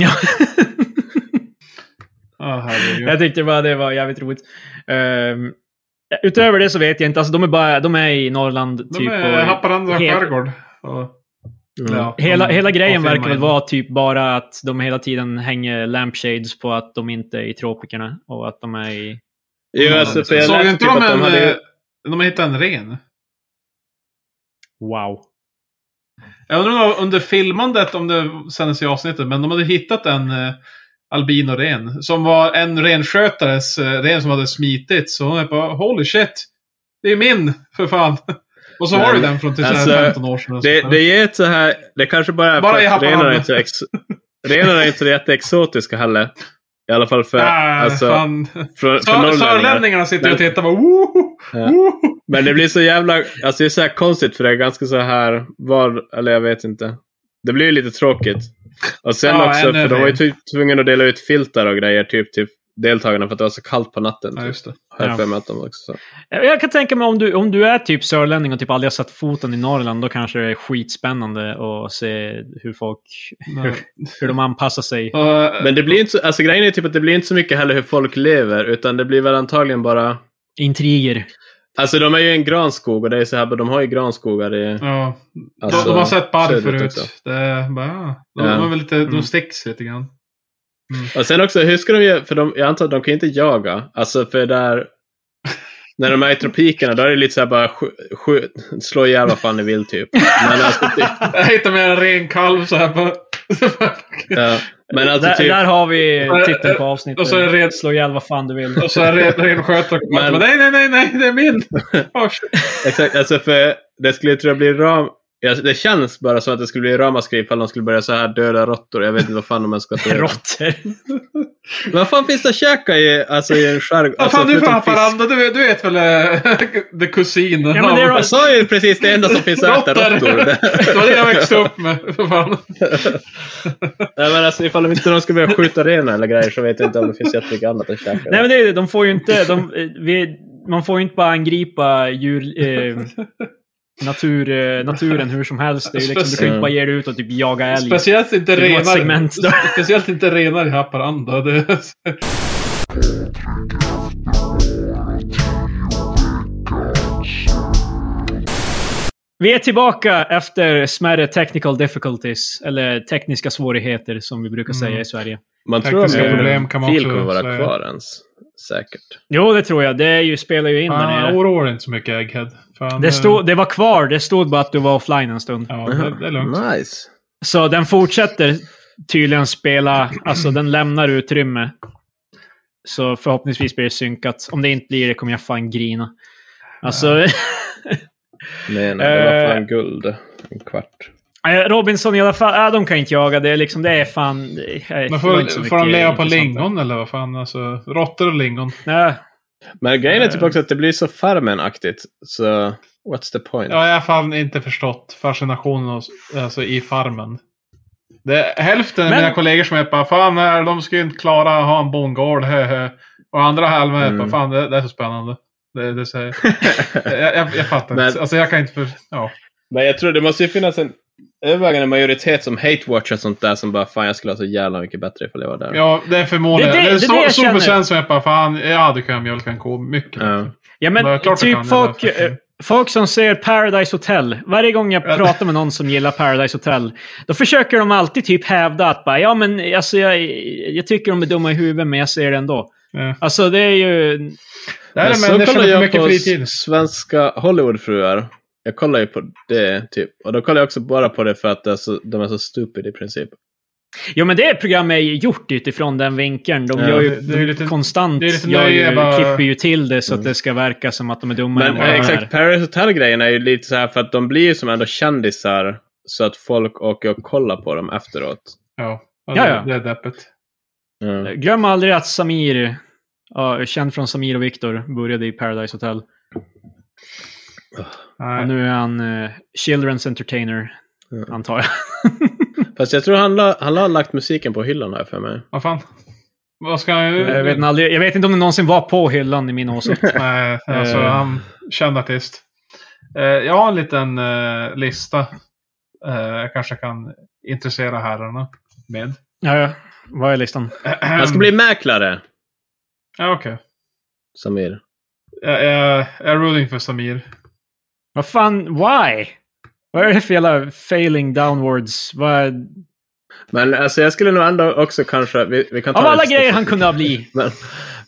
Speaker 1: Ja.
Speaker 2: Ja, herregud.
Speaker 1: jag tyckte bara det var jävligt roligt. Ehm, Utöver det så vet jag inte. Alltså, de, är bara, de är i Norrland.
Speaker 2: De
Speaker 1: typ,
Speaker 2: är
Speaker 1: och-
Speaker 2: Haparanda
Speaker 1: Hel-
Speaker 2: skärgård. Och, ja,
Speaker 1: Hela,
Speaker 2: de
Speaker 1: hela grejen
Speaker 2: har
Speaker 1: verkar väl
Speaker 2: filmat
Speaker 1: vara typ bara att de hela tiden hänger lampshades på att de inte är i tropikerna och att de är i...
Speaker 3: Jo,
Speaker 2: in.
Speaker 3: alltså, för jag
Speaker 2: Såg
Speaker 3: läste
Speaker 2: inte
Speaker 3: typ
Speaker 2: de
Speaker 3: att
Speaker 2: en...
Speaker 3: de hade...
Speaker 2: eh, De hittade en ren.
Speaker 1: Wow.
Speaker 2: Jag undrar om det var under filmandet om det sändes i avsnittet, men de hade hittat en eh, albinoren som var en renskötares eh, ren som hade smitit. Så hon är bara holy shit, det är min för fan. Och så har du
Speaker 3: Men,
Speaker 2: den från typ
Speaker 3: alltså,
Speaker 2: alltså, 15 år sedan.
Speaker 3: Det, det ger ett så här... Det kanske bara är
Speaker 2: Bara i
Speaker 3: för att
Speaker 2: Haparanda.
Speaker 3: renarna är inte så ex... renarna är inte så jätteexotiska heller. I alla fall för,
Speaker 2: Nej,
Speaker 3: alltså,
Speaker 2: fan.
Speaker 3: för, för
Speaker 2: Sör,
Speaker 3: norrlänningar.
Speaker 2: sörlänningarna sitter och
Speaker 3: Men-
Speaker 2: tittar bara woho,
Speaker 3: Ja.
Speaker 2: woho.
Speaker 3: Men det blir så jävla... Alltså det är så här konstigt för det är ganska så här... Var, eller jag vet inte. Det blir ju lite tråkigt. Och sen
Speaker 2: Ja,
Speaker 3: också,
Speaker 2: ännu
Speaker 3: för de var ju
Speaker 2: mer.
Speaker 3: ty- tvungna att dela ut filtar och grejer typ till deltagarna för att det var så kallt på natten.
Speaker 2: Ja,
Speaker 3: typ.
Speaker 2: just det.
Speaker 3: Har jag
Speaker 1: Ja.
Speaker 3: för mig att de också sa.
Speaker 1: Jag kan tänka mig om du, om du är typ sörlänning och typ aldrig har satt foten i Norrland, då kanske det är skitspännande att se hur folk,
Speaker 2: Nej.
Speaker 1: hur de anpassar sig.
Speaker 2: Och,
Speaker 3: Men det blir inte så, alltså grejen är typ att det blir inte så mycket heller hur folk lever, utan det blir väl antagligen bara...
Speaker 1: Intriger.
Speaker 3: Alltså de är ju en granskog och det är så här, de har ju granskogar i...
Speaker 2: ja,
Speaker 3: Alltså,
Speaker 2: de, de har sett barr
Speaker 3: söderut
Speaker 2: förut.
Speaker 3: också.
Speaker 2: Det är bara, ja. de,
Speaker 3: Ja.
Speaker 2: de, är väl lite,
Speaker 1: Mm.
Speaker 2: de sticks lite grann.
Speaker 3: Och sen också, hur ska de göra? För de, jag antar att de kan ju inte jaga. Alltså för där... När de är i tropikerna, då är det lite så här bara sk, sk, slå ihjäl vad fan ni vill typ. Men alltså, typ,
Speaker 2: Jag hittar med en ren kalv så här på...
Speaker 3: ja. Men alltså
Speaker 1: där,
Speaker 3: typ...
Speaker 1: där har vi titeln på
Speaker 2: Och så är det red-
Speaker 1: avsnittet. Slå ihjäl vad fan du vill.
Speaker 2: Och så är det renskötare och
Speaker 3: Men-
Speaker 2: men... nej, nej, nej, nej, det är min! Oh, shit.
Speaker 3: Exakt, alltså för det skulle jag tror jag bli ram... Ja, det känns bara som att det skulle bli ramaskri ifall de skulle börja så här döda råttor. Jag vet inte vad fan de ens ska ta reda på.
Speaker 1: Råttor.
Speaker 3: Vad fan finns det att käka i, alltså, i en skärgård?
Speaker 2: Vad fan
Speaker 3: alltså,
Speaker 2: du från
Speaker 3: förutom fisk?
Speaker 2: Haparanda, du, du vet väl eh, the kusin?
Speaker 1: Ja, men det är
Speaker 2: av-
Speaker 1: de-
Speaker 3: Jag sa ju precis det enda som finns att äta
Speaker 2: Råttor.
Speaker 3: råttor.
Speaker 2: Det var det jag växte upp med, för fan.
Speaker 3: Nej men alltså ifall de inte de ska börja skjuta renar eller grejer så vet jag inte om det finns jättemycket annat att käka.
Speaker 1: Nej men det är det, de får ju inte, de, eh, vi, man får ju inte bara angripa djur, eh, natur, eh, naturen hur som helst. Det är ju liksom, du kan ju inte bara ge dig ut och typ jaga älg.
Speaker 2: Speciellt inte
Speaker 1: Det var
Speaker 2: renar.
Speaker 1: ett segment då.
Speaker 2: Speciellt inte renar i Haparanda. Det...
Speaker 1: Vi är tillbaka efter smärre technical difficulties, eller tekniska svårigheter som vi brukar säga
Speaker 2: Mm.
Speaker 1: i Sverige.
Speaker 3: man tror att
Speaker 2: Tekniska
Speaker 3: min
Speaker 2: problem kan man
Speaker 3: fil
Speaker 2: också
Speaker 3: kommer vara
Speaker 2: säga.
Speaker 3: kvar ens. Säkert.
Speaker 1: Jo, det tror jag. Det är ju, spelar ju in där
Speaker 2: Ah,
Speaker 1: nere.
Speaker 2: Oroa dig inte så mycket Egghead. Fan,
Speaker 1: Det,
Speaker 2: eh,
Speaker 1: stod, det var kvar, det stod bara att du var offline en stund.
Speaker 2: Ja, det, det är lugnt.
Speaker 3: Nice.
Speaker 1: Så den fortsätter tydligen spela, alltså den lämnar utrymme. Så förhoppningsvis blir det synkat. Om det inte blir det kommer jag fan grina. Alltså,
Speaker 3: Men det var
Speaker 1: Eh.
Speaker 3: fan guld. En kvart.
Speaker 1: Robinson i alla fall, äh, de kan inte jaga. Det är liksom, det är fan... Det är
Speaker 2: Men
Speaker 1: det är inte så
Speaker 2: får, får de
Speaker 1: mycket
Speaker 2: leva på
Speaker 1: intressant.
Speaker 2: lingon eller vad fan? Alltså, råttor och lingon.
Speaker 1: Nej,
Speaker 3: Men grejen är typ
Speaker 2: Eh.
Speaker 3: också att det blir så farmenaktigt. Så what's the point?
Speaker 2: Ja, jag har fan inte förstått fascinationen hos, alltså, i farmen. Det, hälften av
Speaker 1: Men-
Speaker 2: mina kollegor som är bara fan, nej, de skulle inte klara att ha en bondgård. hö, hö." Och andra halvan är
Speaker 3: Mm.
Speaker 2: bara fan, det, det är så spännande. Det, det är så, jag, jag, jag fattar
Speaker 3: Men-
Speaker 2: inte. Alltså jag kan inte för... Ja.
Speaker 3: Men jag tror det måste ju finnas en övervägande majoritet som hate-watchar sånt där som bara fan jag skulle ha så jävla mycket bättre ifall jag var där.
Speaker 2: ja, det är förmodligen.
Speaker 1: Det
Speaker 2: Det,
Speaker 1: är det-
Speaker 2: är
Speaker 1: det är det jag
Speaker 2: en stor
Speaker 1: känner.
Speaker 2: procent som är bara fan, ja du kan mjölka en ko mycket.
Speaker 3: Ja.
Speaker 1: Ja men
Speaker 2: Ja, klart du
Speaker 1: typ
Speaker 2: kan,
Speaker 1: folk,
Speaker 2: eller fucking-
Speaker 1: eh, folk som ser Paradise Hotel. Varje gång jag
Speaker 2: Ja.
Speaker 1: pratar med någon som gillar Paradise Hotel, då försöker de alltid typ hävda att bara, ja men alltså, jag, jag tycker de är dumma i huvudet men jag ser det ändå.
Speaker 2: Ja.
Speaker 1: Alltså det är ju...
Speaker 2: Det här
Speaker 3: Men
Speaker 2: är människor
Speaker 3: kollar
Speaker 2: med för
Speaker 3: jag
Speaker 2: mycket
Speaker 3: på
Speaker 2: fritid.
Speaker 3: svenska Hollywoodfruar. Jag kollar ju på det, typ. Och då kollar jag också bara på det för att det är så, de är så stupid i princip.
Speaker 1: Jo men det programmet är ju gjort utifrån den vinkeln. De
Speaker 3: Ja.
Speaker 1: gör ju
Speaker 2: Det- det är ju lite-
Speaker 1: konstant,
Speaker 2: det är lite
Speaker 1: gör ju,
Speaker 2: nöje bara-
Speaker 1: klipper ju till det så att
Speaker 3: Mm.
Speaker 1: det ska verka som att de är dumma
Speaker 3: Men
Speaker 1: än vad de
Speaker 3: eh,
Speaker 1: är.
Speaker 3: exakt, Paris Hotel-grejen är ju lite så här för att de blir ju som ändå kändisar så att folk åker och kollar på dem efteråt.
Speaker 2: Ja,
Speaker 1: Ja, ja.
Speaker 2: det är deppigt.
Speaker 3: Mm.
Speaker 1: Glöm aldrig att Samir, ja, känd från Samir och Viktor, började i Paradise Hotel.
Speaker 2: Nej.
Speaker 1: Och nu är han eh, Children's Entertainer,
Speaker 3: Ja.
Speaker 1: antar jag.
Speaker 3: Fast jag tror han, la, han har lagt musiken på hyllan här för mig.
Speaker 2: Vad fan? Vad ska han
Speaker 1: Jag vet, aldrig, jag vet inte om det någonsin var på hyllan i min åsikt.
Speaker 2: Nej, alltså
Speaker 1: Eh.
Speaker 2: han känd artist. Eh, jag har en liten eh, lista. eh, jag kanske kan intressera herrarna med.
Speaker 1: Ja, ja. Vad är listan?
Speaker 2: Mm.
Speaker 3: Han ska bli mäklare,
Speaker 2: Ja, okej.
Speaker 3: Samir.
Speaker 2: Jag, jag, jag är rooting för Samir.
Speaker 1: Vad fan, why? Vad är det för jävla failing downwards? Vad...
Speaker 3: Men alltså jag skulle nog ändå också kanske... Vi, vi kan ta
Speaker 1: Av
Speaker 3: det
Speaker 1: alla
Speaker 3: lite
Speaker 1: grejer
Speaker 3: steg.
Speaker 1: han kunde ha blivit.
Speaker 3: Men,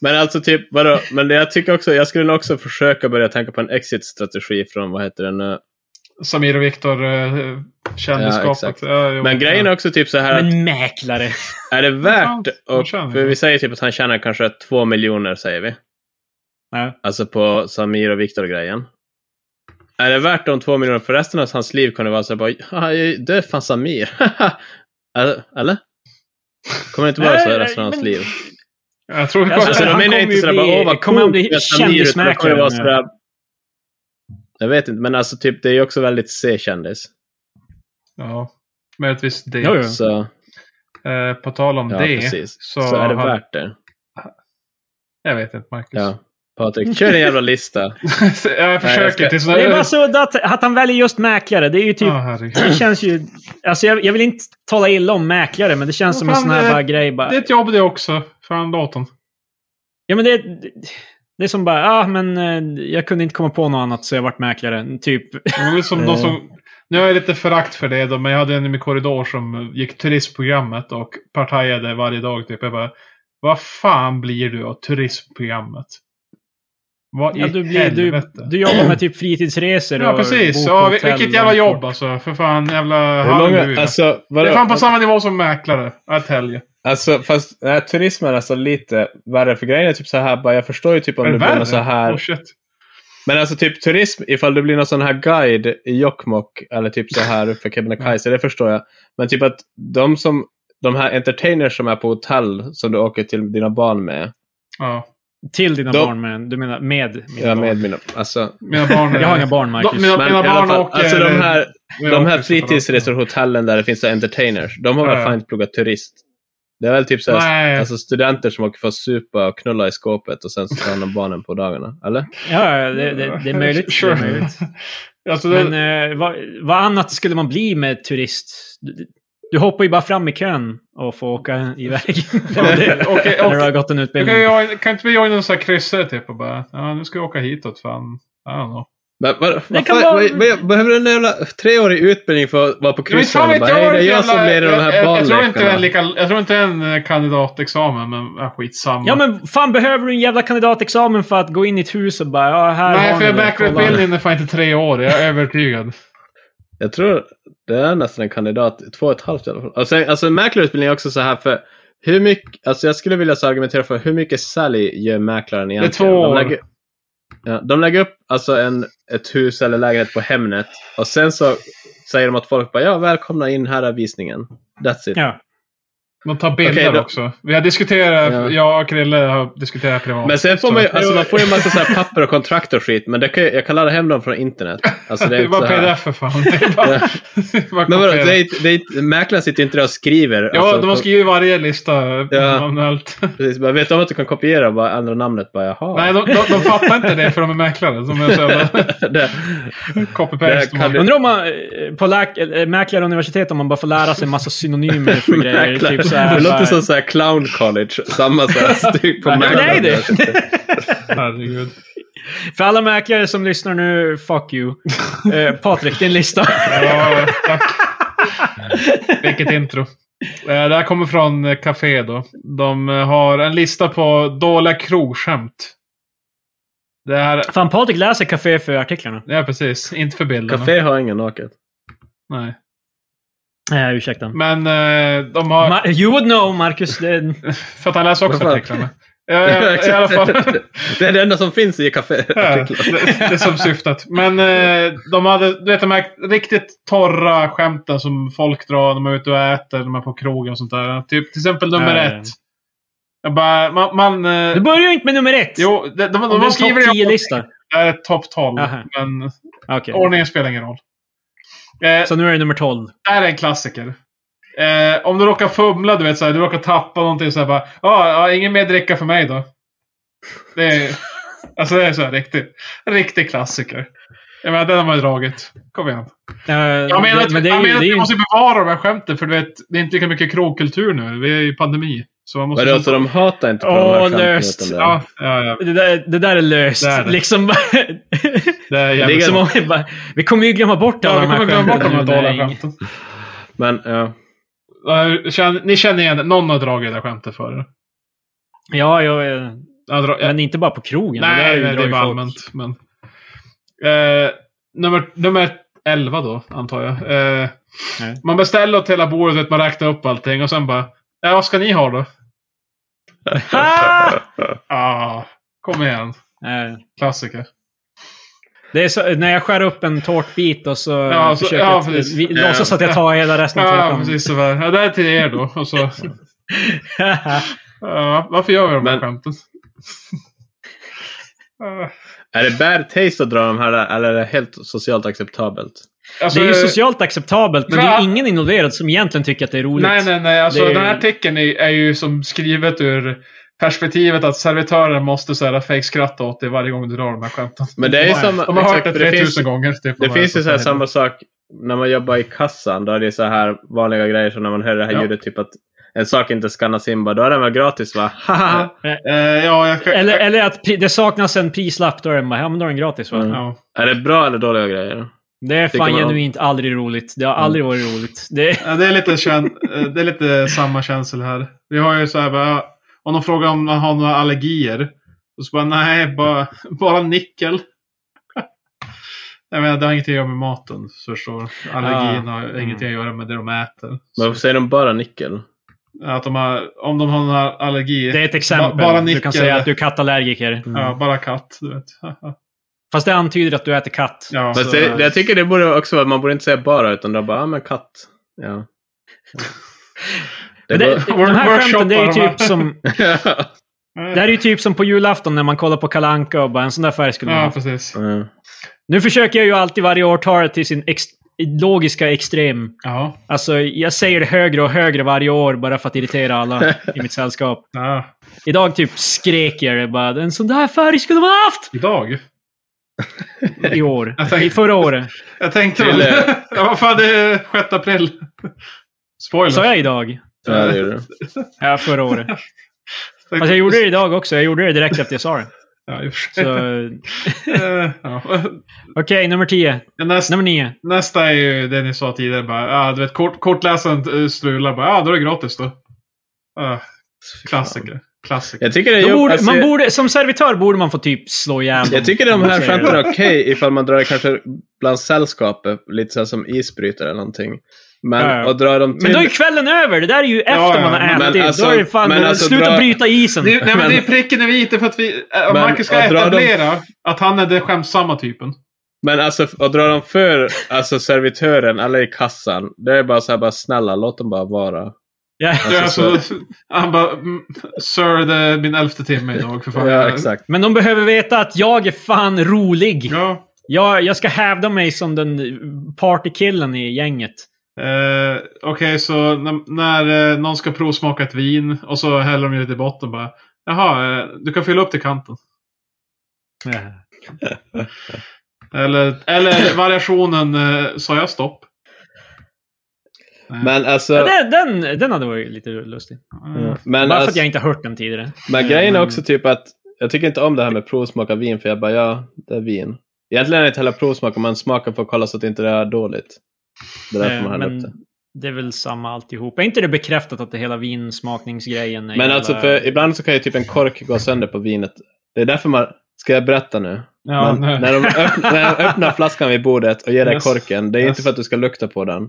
Speaker 3: men alltså typ, vadå? Men jag tycker också, jag skulle nog också försöka börja tänka på en exit-strategi från, vad heter den nu?
Speaker 2: Samir och Viktor, eh,
Speaker 3: Ja,
Speaker 2: kändisskapet.
Speaker 3: exakt.
Speaker 2: Ja, jo.
Speaker 3: Men grejen är också typ så här att
Speaker 1: Men mäklare.
Speaker 3: Är det
Speaker 2: fan,
Speaker 3: värt
Speaker 2: vad
Speaker 3: och
Speaker 2: tjänar
Speaker 3: för
Speaker 2: jag?
Speaker 3: vi säger typ att han tjänar kanske två miljoner säger vi.
Speaker 1: Ja.
Speaker 3: Alltså på Samir och Viktor-grejen. Är det värt de två miljonerna för resten av hans liv kan det vara så här bara, "Ja, jag- det är fan Samir. Eller- Eller? Kommer det inte vara så
Speaker 1: Nej,
Speaker 3: resten av
Speaker 1: men-
Speaker 3: hans liv?
Speaker 2: Jag tror det
Speaker 1: Alltså,
Speaker 3: Alltså
Speaker 1: han
Speaker 3: då menar jag
Speaker 1: kommer
Speaker 3: inte
Speaker 1: ju
Speaker 3: sådär bara,
Speaker 1: bli-
Speaker 3: åh vad
Speaker 1: kommer han bli
Speaker 3: coolt med Samir. utan det
Speaker 1: kändismäklare
Speaker 3: kommer vara
Speaker 1: nu?
Speaker 3: sådär- Jag vet inte, men alltså typ det är ju också väldigt C-kändis.
Speaker 2: Ja, möjligtvis det.
Speaker 1: Jo, jo.
Speaker 3: Så,
Speaker 2: Eh, på tal om
Speaker 3: ja,
Speaker 2: det.
Speaker 3: precis.
Speaker 2: Så,
Speaker 3: Så, är det
Speaker 2: har-
Speaker 3: värt det?
Speaker 2: Jag vet inte, Marcus.
Speaker 3: Ja. Patrik, kör en jävla lista.
Speaker 2: jag försöker.
Speaker 3: jag ska-
Speaker 2: tills
Speaker 1: Det är bara så att, att han väljer just mäklare. Det är ju typ...
Speaker 2: Ja, herregud.
Speaker 1: Det känns ju... Alltså jag, jag vill inte tala illa om mäklare, men det känns
Speaker 2: Vad
Speaker 1: som en
Speaker 2: fan,
Speaker 1: sån här
Speaker 2: det-
Speaker 1: bara grej bara...
Speaker 2: Det är ett jobb det också. Fan, datorn.
Speaker 1: Ja, men det, det är som bara, ja ah, men eh, jag kunde inte komma på något annat så jag vart mäklare. Typ.
Speaker 2: Det var väl som
Speaker 3: Mm.
Speaker 2: de som... Nu har jag lite förakt för det då, men jag hade en i min korridor som gick turistprogrammet och partajade varje dag. Typ. Jag bara, vad fan blir du av turistprogrammet? Vad
Speaker 1: Ja,
Speaker 2: i
Speaker 1: du, blir, du,
Speaker 2: helvete?
Speaker 1: du jobbar med typ fritidsresor
Speaker 2: ja,
Speaker 1: och
Speaker 2: precis.
Speaker 1: bor på
Speaker 2: Ja, vi-
Speaker 1: hotell
Speaker 2: vilket
Speaker 1: och-
Speaker 2: jävla jobb alltså. För fan, jävla
Speaker 3: Hur
Speaker 2: halleluja.
Speaker 3: många, alltså,
Speaker 2: det
Speaker 3: vadå?
Speaker 2: är fan på samma nivå som mäklare. Jag täljer.
Speaker 3: Alltså fast nej, turismen är alltså lite värre för grejen är typ så här bara jag förstår ju typ om
Speaker 2: Är det
Speaker 3: du blir någon
Speaker 2: värre?
Speaker 3: så här.
Speaker 2: Oh, shit.
Speaker 3: Men alltså typ turism ifall du blir någon sån här guide i Jokkmokk eller typ så här uppe för Kebnekaise det förstår jag. Men typ att de som de här entertainers som är på hotell som du åker till dina barn med.
Speaker 2: Ja.
Speaker 1: Till dina
Speaker 3: Då-
Speaker 1: barn, men du menar med mina
Speaker 3: Ja,
Speaker 1: barn.
Speaker 3: med mina, alltså,
Speaker 2: Mina barn är-
Speaker 1: Jag har inga barn,
Speaker 2: De-
Speaker 1: Marcus.
Speaker 2: Mina,
Speaker 3: men
Speaker 2: mina
Speaker 3: i alla
Speaker 2: barn
Speaker 3: fall,
Speaker 2: åker...
Speaker 3: alltså de här,
Speaker 2: jag
Speaker 3: de här
Speaker 2: åker separat.
Speaker 3: fritidsresor, hotellen där det finns så här entertainers. De har
Speaker 2: Ja,
Speaker 3: väl
Speaker 2: ja.
Speaker 3: fan inte pluggat turist. Det är väl typ så här
Speaker 2: Nej.
Speaker 3: Alltså studenter som åker för att supa och knulla i skåpet och sen så tar hand om barnen på dagarna, eller?
Speaker 1: Ja, ja, det, det, det är möjligt.
Speaker 2: Sure.
Speaker 1: Det är möjligt.
Speaker 2: alltså, det,
Speaker 1: Men eh, vad, vad annat skulle man bli med turist? Du, du hoppar ju bara fram i kön och får åka iväg. Om du-
Speaker 2: Okej,
Speaker 1: När du
Speaker 2: och-
Speaker 1: har gått en
Speaker 2: Då kan,
Speaker 1: utbildning.
Speaker 2: jag, kan inte vi göra någon sån här kryssare typ och bara, ja nu ska jag åka hitåt fan. I don't know.
Speaker 3: Men, vad, vad,
Speaker 1: kan
Speaker 3: fan,
Speaker 1: vara-
Speaker 3: vad, vad, behöver en jävla treårig utbildning för att vara på
Speaker 2: Men
Speaker 3: kryssaren?
Speaker 2: vet
Speaker 3: och
Speaker 2: jag
Speaker 3: bara, "Hej,
Speaker 2: vad
Speaker 3: Det är
Speaker 2: för
Speaker 3: jag som
Speaker 2: jävla-
Speaker 3: leder de
Speaker 2: jag-
Speaker 3: här
Speaker 2: jag- jag tror inte det är en
Speaker 3: barnlekarna.
Speaker 2: lika- Jag tror inte det är en eh, kandidatexamen, men ja, skitsamma.
Speaker 1: Ja, men fan behöver du en jävla kandidatexamen för att gå in i ett hus och bara, ja, här
Speaker 2: Nej,
Speaker 1: har
Speaker 2: för
Speaker 1: ni det, kolla.
Speaker 2: mäklarutbildningen är fan inte tre år, jag är övertygad.
Speaker 3: Jag tror det är nästan en kandidat, två och ett halvt i alla fall. Och sen, alltså en mäklarutbildning är också så här för hur mycket, alltså jag skulle vilja så argumentera för hur mycket sälj gör mäklaren egentligen?
Speaker 2: två
Speaker 3: De
Speaker 2: år.
Speaker 3: lägger, ja, de lägger upp alltså en, ett hus eller lägenhet på Hemnet och sen så säger de att folk bara ja, välkomna in, här är visningen. That's it.
Speaker 1: Ja.
Speaker 2: De tar bilder
Speaker 3: Okej, då-
Speaker 2: också. Vi har diskuterat,
Speaker 3: Ja.
Speaker 2: jag och Krille har diskuterat privat.
Speaker 3: Men sen får
Speaker 2: Så-
Speaker 3: man ju, alltså man får ju en massa så här papper och kontrakt och skit, men det kan, ju- jag kan ladda hem dem från internet. Alltså
Speaker 2: det
Speaker 3: det är
Speaker 2: är
Speaker 3: inte så
Speaker 2: bara
Speaker 3: här.
Speaker 2: pdf för fan. Det är bara-
Speaker 3: Ja.
Speaker 2: det är bara
Speaker 3: Men vadå,
Speaker 2: kopiera.
Speaker 3: det är, inte- det är, inte- mäklaren sitter ju inte där och skriver.
Speaker 2: Ja,
Speaker 3: alltså,
Speaker 2: de har skrivit varje lista
Speaker 3: Ja.
Speaker 2: manuellt.
Speaker 3: Precis, bara, vet de att du kan kopiera och bara ändra namnet? Bara, jaha.
Speaker 2: Nej, de, de, de fattar inte det för de är mäklare. De är så jävla
Speaker 3: det,
Speaker 2: copy-paste.
Speaker 3: Det kan
Speaker 1: Undrar om man eh, på läk- eller mäklaruniversitetet om man bara får lära sig massa synonymer för grejer.
Speaker 3: mäklare.
Speaker 1: typ så här,
Speaker 3: det
Speaker 1: bara-
Speaker 3: låter som så här clown college, samma så här styck på
Speaker 1: Ja, men det är
Speaker 3: mäklaren.
Speaker 1: det.
Speaker 2: Herregud.
Speaker 1: För alla mäklare som lyssnar nu, fuck you. Eh, Patrik, din lista.
Speaker 2: Ja, tack. Vilket intro. Eh, Det här kommer från eh, Café då. De eh, har en lista på dåliga krogskämt. Det här...
Speaker 1: Fan, Patrik läser Café för artiklarna.
Speaker 2: Ja, precis. Inte för bilderna.
Speaker 3: Café har ingen naket.
Speaker 2: Nej.
Speaker 1: Eh, ursäkta.
Speaker 2: Men eh, de har...
Speaker 1: Ma- you would know, Marcus. Det,
Speaker 2: För att han läser också
Speaker 3: Vad fan?
Speaker 2: artiklarna. Ja, ja, I alla fall.
Speaker 3: det är det enda som finns i café.
Speaker 2: Ja, Eh, det, det är som syftet. Men eh, de hade, du vet de här riktigt torra skämten som folk drar när man är ute och äter, när man är på krogen och sånt där. Typ till exempel nummer
Speaker 1: Ja, ja, ja.
Speaker 2: ett. Jag bara, man... man eh,
Speaker 1: du börjar ju inte med nummer ett.
Speaker 2: jo, de, de, de,
Speaker 1: Om det
Speaker 2: de
Speaker 1: är en
Speaker 2: skriver
Speaker 1: topp
Speaker 2: det i
Speaker 1: 10-lista.
Speaker 2: är topp 12.
Speaker 1: Aha.
Speaker 2: Men
Speaker 1: Ah, Okej.
Speaker 2: ordningen spelar ingen roll. Eh,
Speaker 1: Så nu är det nummer 12.
Speaker 2: det här är en klassiker. Eh, om du råkar fumla, du vet såhär, du råkar tappa någonting såhär bara ja, ja, ingen mer dricka för mig då. Det är, alltså det är så här riktigt, riktig klassiker. Jag menar, den har man ju dragit. Kom igen.
Speaker 1: Eh,
Speaker 2: Jag menar att,
Speaker 1: men det är
Speaker 2: jag
Speaker 1: ju...
Speaker 2: menar
Speaker 1: Det
Speaker 2: att
Speaker 1: är
Speaker 2: vi
Speaker 1: ju
Speaker 2: måste bevara de här skämten, för du vet, det är inte lika mycket krogkultur nu. Vi är i pandemi. Så man måste...
Speaker 3: Vadå, så de hatar inte på de
Speaker 1: Åh,
Speaker 3: här
Speaker 1: löst.
Speaker 3: skämten?
Speaker 2: Ja, ja, ja.
Speaker 1: Det där, det där är löst.
Speaker 2: Det är det.
Speaker 1: Liksom bara...
Speaker 2: Det är
Speaker 3: Det
Speaker 2: jävligt...
Speaker 3: är-
Speaker 1: som om vi, bara, vi kommer ju glömma bort alla
Speaker 2: Ja, vi
Speaker 1: de här
Speaker 2: kommer glömma bort de
Speaker 1: skämten.
Speaker 2: här dåliga
Speaker 1: Nej.
Speaker 2: skämten.
Speaker 3: Men ja.
Speaker 2: Ja, känn- Ni känner igen det. Någon har dragit det där skämtet för er.
Speaker 1: Ja, jag, eh,
Speaker 2: Jag drar- jag-
Speaker 1: men inte bara på krogen. Det där
Speaker 2: Nej,
Speaker 1: ju-
Speaker 2: nej, det
Speaker 1: drar
Speaker 2: är
Speaker 1: ju
Speaker 2: bara
Speaker 1: folk-
Speaker 2: allmänt. Men, eh, nummer, nummer 11 då, antar jag. Eh,
Speaker 1: Nej.
Speaker 2: man beställer åt hela bordet, man räknar upp allting och sen bara Ja, vad ska ni ha då?
Speaker 1: Ah!
Speaker 2: Ah, kom igen.
Speaker 1: Eh,
Speaker 2: Klassiker.
Speaker 1: Det är så, när jag skär upp en tårtbit och så,
Speaker 2: Ja, så-
Speaker 1: Eh, försöker
Speaker 2: ja,
Speaker 1: jag
Speaker 2: precis.
Speaker 1: vi, låtsas att jag tar hela resten av
Speaker 2: Ja,
Speaker 1: tårtan.
Speaker 2: precis sådär. Ja, det här är till er då. Och så, ja, varför gör vi de här
Speaker 3: Men-
Speaker 2: skämten? Ah,
Speaker 3: Är det bad taste att dra de här eller är det helt socialt acceptabelt?
Speaker 2: alltså,
Speaker 1: det är ju socialt acceptabelt, men det är
Speaker 2: Ja.
Speaker 1: ju ingen involverad som egentligen tycker att det är roligt.
Speaker 2: Nej, nej, nej. Alltså,
Speaker 1: Det är ju-
Speaker 2: Den här artikeln är, är ju som skrivet ur perspektivet att servitören måste så här fejkskratta åt dig varje gång du drar de här skämten.
Speaker 3: Men det är ju
Speaker 1: Ja, ja.
Speaker 3: som...
Speaker 2: De har hört det
Speaker 3: exakt, för
Speaker 2: 3000
Speaker 3: finns-
Speaker 2: gånger. Typ,
Speaker 3: Det
Speaker 2: om
Speaker 3: finns ju
Speaker 2: jag
Speaker 3: så här samma sak när man jobbar i kassan. Då är det så här vanliga grejer som när man hör det här
Speaker 2: Ja.
Speaker 3: ljudet. Typ att en sak inte skannas in bara. Då är den väl gratis va? Haha.
Speaker 2: Eh, ja, jag,
Speaker 1: Eller, eller att pri- det saknas en prislapp, då är den bara, ja men då är den gratis va?
Speaker 3: Mm.
Speaker 2: ja.
Speaker 3: Är det bra eller dåliga grejer?
Speaker 1: Det är
Speaker 3: Tycker
Speaker 1: fan
Speaker 3: man om.
Speaker 1: genuint aldrig roligt. Det har aldrig varit roligt. Det,
Speaker 2: Ja, det, är lite kän, eh, det är lite samma känsla här. Vi har ju så här bara, om de frågar om man har några allergier. Och så bara, nej, bara, bara nickel. Jag menar, det har ingenting att göra med maten. Så förstår. du. Allergin har
Speaker 1: Mm.
Speaker 2: ingenting att göra med det de äter.
Speaker 3: Ah. Men
Speaker 2: Så,
Speaker 3: varför säger de bara nickel?
Speaker 2: att de har, om de har några allergier.
Speaker 1: det Mm. är ett exempel.
Speaker 2: Ba- bara
Speaker 1: du
Speaker 2: nickel.
Speaker 1: kan säga att du är kattallergiker.
Speaker 2: Ja, bara katt. Du vet.
Speaker 1: Fast det antyder att du äter katt.
Speaker 2: Ja,
Speaker 3: Fast
Speaker 2: så-
Speaker 3: det, det, jag tycker det borde också vara, man borde inte säga bara utan då bara, ja ah, men katt. Ja.
Speaker 1: Men
Speaker 3: Det
Speaker 1: det,
Speaker 2: går-
Speaker 1: de här skämten, det är ju
Speaker 2: Workshoppa de
Speaker 1: typ som... Det här är ju typ som på julafton när man kollar på Kalanka och bara en sån där färg skulle man
Speaker 2: ja,
Speaker 1: ha.
Speaker 2: precis.
Speaker 3: går- Ja.
Speaker 1: Nu försöker jag ju alltid varje år ta det till sin ex logiska extrem.
Speaker 2: Ja.
Speaker 1: Alltså, jag säger det högre och högre varje år bara för att irritera alla i mitt sällskap.
Speaker 2: ja.
Speaker 1: Idag typ skrek jag det bara. En sån där färg skulle man ha haft!
Speaker 2: Idag?
Speaker 1: I år.
Speaker 3: Alltså,
Speaker 2: Jag tänkte-
Speaker 1: I förra året.
Speaker 2: Jag tänkte
Speaker 3: Till,
Speaker 2: väl...
Speaker 3: eh,
Speaker 2: ja, vad fan, det är 6 april. Spoiler.
Speaker 1: Sa jag idag?
Speaker 3: ja, det gör du.
Speaker 1: Ja, förra året.
Speaker 2: Tänkte-
Speaker 1: Fast jag gjorde det idag också. Jag gjorde det direkt efter jag sa det.
Speaker 2: Ja, i och för sig.
Speaker 1: Så,
Speaker 2: Eh, ja.
Speaker 1: Okej, nummer 10.
Speaker 2: Nästa,
Speaker 1: Nummer 9.
Speaker 2: nästa är ju det ni sa tidigare. Bara, ja, du vet, kort, kortläsaren eh, strular bara. Ja, då är det gratis då. Ja, klassiker. Klassiker.
Speaker 3: Jag tycker det är
Speaker 1: De
Speaker 3: jobb-
Speaker 1: borde,
Speaker 3: alltså,
Speaker 1: man
Speaker 3: jag-
Speaker 1: borde, som servitör borde man få typ slå ihjäl dem.
Speaker 3: Jag tycker de
Speaker 1: Om
Speaker 3: här
Speaker 1: man säger
Speaker 3: skämten
Speaker 1: det.
Speaker 3: är okej ifall man drar det kanske bland sällskapet, lite så här som isbrytare eller någonting. Men
Speaker 1: Ja, ja.
Speaker 3: att dra dem till...
Speaker 1: Men då är ju kvällen över. Det där är ju efter
Speaker 2: Ja, ja,
Speaker 1: man har
Speaker 2: men
Speaker 1: ätit.
Speaker 3: alltså-
Speaker 1: då är det fan,
Speaker 3: men alltså,
Speaker 1: sluta
Speaker 3: dra-
Speaker 1: bryta isen.
Speaker 2: Det, är- nej, men
Speaker 3: Men-
Speaker 2: det är pricken över i för att vi, eh, om
Speaker 3: Men
Speaker 2: Marcus ska
Speaker 3: att dra dem-
Speaker 2: etablera att han är den skämtsamma typen.
Speaker 3: Men alltså att dra dem för alltså, servitören eller i kassan. Det är bara så här, bara snälla låt dem bara vara.
Speaker 1: Ja.
Speaker 2: Det är
Speaker 3: Alltså,
Speaker 2: alltså, han bara, "Mm, Sir, det är min elfte timme idag för fan.
Speaker 3: Ja, exakt.
Speaker 1: Men de behöver veta att jag är fan rolig.
Speaker 2: Ja.
Speaker 1: Jag, jag ska hävda mig som den partykillen i gänget.
Speaker 2: Eh, Okej, så när, när eh, någon ska provsmaka ett vin och så häller de ju det i botten bara. Jaha, eh, du kan fylla upp till kanten. Eller, eller variationen, eh, sa jag stopp?
Speaker 3: Men alltså,
Speaker 1: Ja, det, den, den hade varit lite lustig.
Speaker 2: Eh,
Speaker 1: Bara
Speaker 3: men,
Speaker 1: för att
Speaker 3: alltså,
Speaker 1: jag inte har hört den tidigare.
Speaker 3: men grejen är
Speaker 2: Mm.
Speaker 3: också typ att jag tycker inte om det här med provsmaka vin för jag bara ja, det är vin. Egentligen är det inte heller provsmak om man smakar för att kolla så att inte det är dåligt. Det är därför
Speaker 1: Eh,
Speaker 3: man häller upp
Speaker 1: Men
Speaker 3: det.
Speaker 1: det är väl samma alltihop. Är inte det bekräftat att det hela vinsmakningsgrejen är
Speaker 3: Men
Speaker 1: jävla-
Speaker 3: alltså för ibland så kan ju typ en kork gå sönder på vinet. Det är därför man, ska jag berätta nu?
Speaker 2: ja,
Speaker 3: Men
Speaker 2: nej.
Speaker 3: när, de öppnar, när de öppnar flaskan vid bordet och ger dig
Speaker 2: Yes.
Speaker 3: korken, det är inte
Speaker 2: Yes.
Speaker 3: för att du ska lukta på den.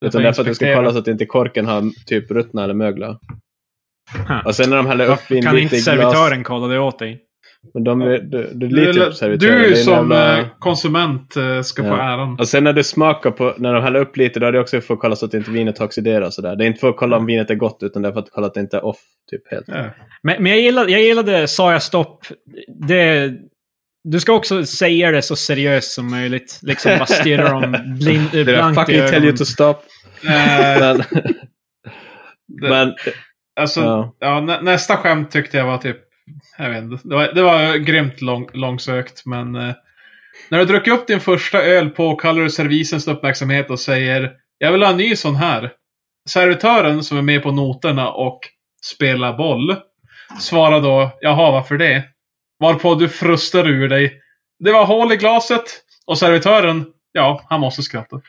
Speaker 2: Jag får
Speaker 3: Utan det är för att du ska
Speaker 2: inspektera.
Speaker 3: kolla så att inte korken har typ ruttnat eller möglat.
Speaker 1: Huh.
Speaker 3: Och sen när de häller upp vin
Speaker 1: Kan
Speaker 3: lite
Speaker 1: inte
Speaker 3: i glas.
Speaker 1: servitören kolla det åt dig?
Speaker 3: Men de, är- du, du
Speaker 2: Du,
Speaker 3: litar ju på servitören.
Speaker 2: du
Speaker 3: Det är en
Speaker 2: som
Speaker 3: jävla-
Speaker 2: eh, konsument eh, ska få
Speaker 3: Ja. Alltså-
Speaker 2: äran.
Speaker 3: Och sen när du smakar på, när de häller upp lite, då är det också för att kolla så att inte vinet har oxiderat och sådär. Det är inte för att kolla om vinet är gott, utan det är för att kolla att det inte är off. Typ helt.
Speaker 2: Ja.
Speaker 1: Men, men jag, gillade, jag gillade sa jag stopp. Det, du ska också säga det så seriöst som möjligt. Liksom bara stirra dem blind, eh,
Speaker 3: Det är
Speaker 1: blankt i
Speaker 3: fucking tell
Speaker 1: ögonen.
Speaker 3: you to stop.
Speaker 2: Eh,
Speaker 3: Men,
Speaker 2: det-
Speaker 3: men
Speaker 2: alltså,
Speaker 3: ja.
Speaker 2: Ja, nä nästa skämt tyckte jag var typ... Jag vet inte. Det var, det var grymt lång, långsökt, men... Eh, när du druckit upp din första öl påkallar du servisens uppmärksamhet och säger Jag vill ha en ny sån här. Servitören som är med på noterna och spela boll. Svara då, jaha varför det? Varpå du frustar ur dig. Det var hål i glaset. Och servitören, ja, han måste skratta.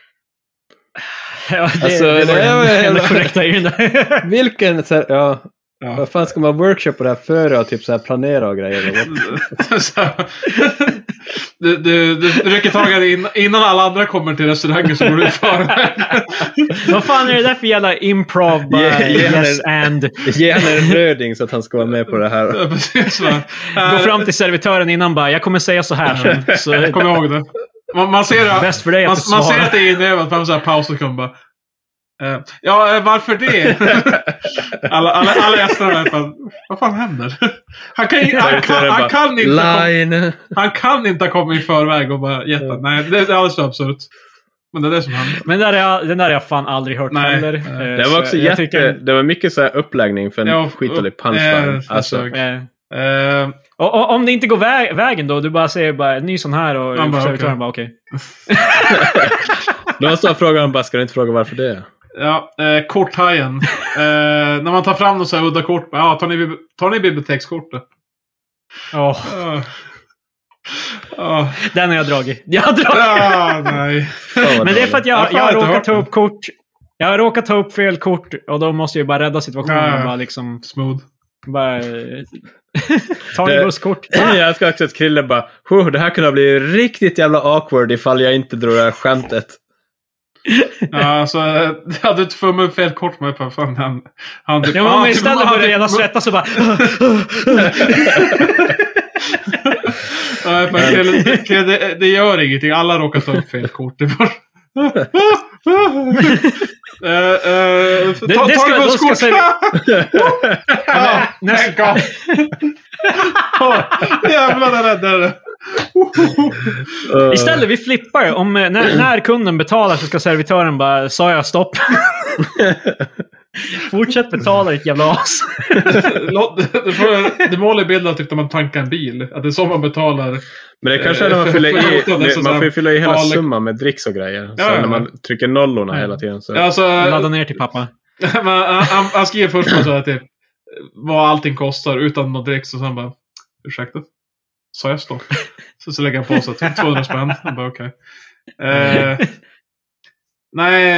Speaker 1: Ja, det,
Speaker 3: Alltså,
Speaker 1: det var
Speaker 3: det var
Speaker 1: den enda
Speaker 3: jävla-
Speaker 1: korrekta i den där.
Speaker 4: Vilken, så här, ja,
Speaker 2: Ja.
Speaker 4: vad fan ska man workshoppa det här före och typ så här planera och grejer? eller?
Speaker 2: Så här. du, du, du rycker tag i det in, innan alla andra kommer till restaurangen så går du före.
Speaker 1: Vad fan är det där för jävla improv? Bara,
Speaker 3: Ge- ge henne-
Speaker 1: yes and.
Speaker 3: Ge han en röding så att han ska vara med på det här.
Speaker 2: Ja, Precis, så här.
Speaker 1: Gå fram till servitören innan bara, jag kommer säga så här sen. Så,
Speaker 2: Kom ihåg det. Man, man ser det.
Speaker 1: bäst för dig
Speaker 2: Man,
Speaker 1: att
Speaker 2: man ser
Speaker 1: svara.
Speaker 2: att det är inövat. Man så här paus och kommer bara. eh, Ja, eh, varför det? Alla, alla, alla gäster där fan, Vad fan händer? Han kan, ju- han kan, han kan inte... ha kommit-
Speaker 3: Line!
Speaker 2: Han kan inte ha kommit i förväg och bara gett den. Nej, det, det är alldeles för absurt. Men det är det som händer.
Speaker 1: Men där är jag, den där har jag fan aldrig hört
Speaker 2: Nej.
Speaker 1: heller.
Speaker 2: Nej.
Speaker 1: Eh,
Speaker 3: Det
Speaker 1: så
Speaker 3: var också
Speaker 1: jag- jag
Speaker 3: jätte...
Speaker 1: tycker-
Speaker 3: Det var mycket så här uppläggning för en
Speaker 2: Ja,
Speaker 3: skitdålig
Speaker 2: upp-
Speaker 3: punchline.
Speaker 2: eh,
Speaker 3: Alltså,
Speaker 2: försök.
Speaker 1: eh,
Speaker 2: Eh,
Speaker 1: och, och, om det inte går vä vägen då? Du bara säger bara, ny sån här och
Speaker 2: Man bara,
Speaker 1: servitören
Speaker 2: okej.
Speaker 1: bara okej.
Speaker 3: det var så frågan bara, ska du inte fråga varför det?
Speaker 2: Ja, eh, korthajen. eh, när man tar fram något så här udda kort. Ja, tar ni, bib- tar ni bibliotekskortet?
Speaker 1: Åh,
Speaker 2: Uh. Uh.
Speaker 1: den har jag dragit. Jag har dragit.
Speaker 2: Ah, nej.
Speaker 3: Fan,
Speaker 1: Men
Speaker 3: vad
Speaker 1: det är
Speaker 3: dåligt.
Speaker 1: för att
Speaker 2: Jag har
Speaker 1: jag,
Speaker 2: fan
Speaker 1: jag har
Speaker 2: inte
Speaker 1: råkat
Speaker 2: hört
Speaker 1: ta
Speaker 2: den.
Speaker 1: upp kort. Jag har råkat ta upp fel kort och då måste jag ju bara rädda situationen
Speaker 2: Ja, ja.
Speaker 1: och bara liksom...
Speaker 2: Smooth.
Speaker 1: Bara, eh, ta ni
Speaker 3: Det-
Speaker 1: busskort?
Speaker 3: Jag ska också att Krille bara, "Huh, det här kunde ha blivit riktigt jävla awkward ifall jag inte drog det här skämtet.
Speaker 2: Ja, alltså, eh, hade du fumlat upp fel kort med på fan han... han typ,
Speaker 1: Ja, men
Speaker 2: ah,
Speaker 1: om jag
Speaker 2: typ,
Speaker 1: istället
Speaker 2: han
Speaker 1: börjar
Speaker 2: typ-
Speaker 1: redan svettas och bara...
Speaker 2: Nej, men Krille, Krille, det, det gör ingenting. Alla råkar ta upp fel kort. Det är bara... Eh, eh, ta,
Speaker 1: Det-
Speaker 2: ta
Speaker 1: det ska-
Speaker 2: det
Speaker 1: då
Speaker 2: busskort!
Speaker 1: ska
Speaker 2: Ja,
Speaker 1: nästa-
Speaker 2: nästa. Jävlar, det räddade det.
Speaker 3: Uh,
Speaker 1: Istället, vi flippar. Om, eh, när, när kunden betalar så ska servitören bara, sa jag stopp? Fortsätt betala ditt jävla as.
Speaker 2: Låt- Det, får- det målar bilden av typ när man tankar en bil. Att det är så man betalar.
Speaker 3: Men det kanske är när man fyller i, det- man får ju fylla i hela
Speaker 2: Farlig-
Speaker 3: summan med dricks och grejer. Så
Speaker 2: Ja, ja.
Speaker 3: när man trycker nollorna hela tiden så...
Speaker 2: Alltså,
Speaker 1: Ladda ner till pappa.
Speaker 2: men han, han, han skriver först bara så här typ vad allting kostar utan något direkt. Och sen bara, ursäkta? Sa jag stopp? Så, så lägger han på sig typ 200 spänn. Han bara okej. Eh, nej,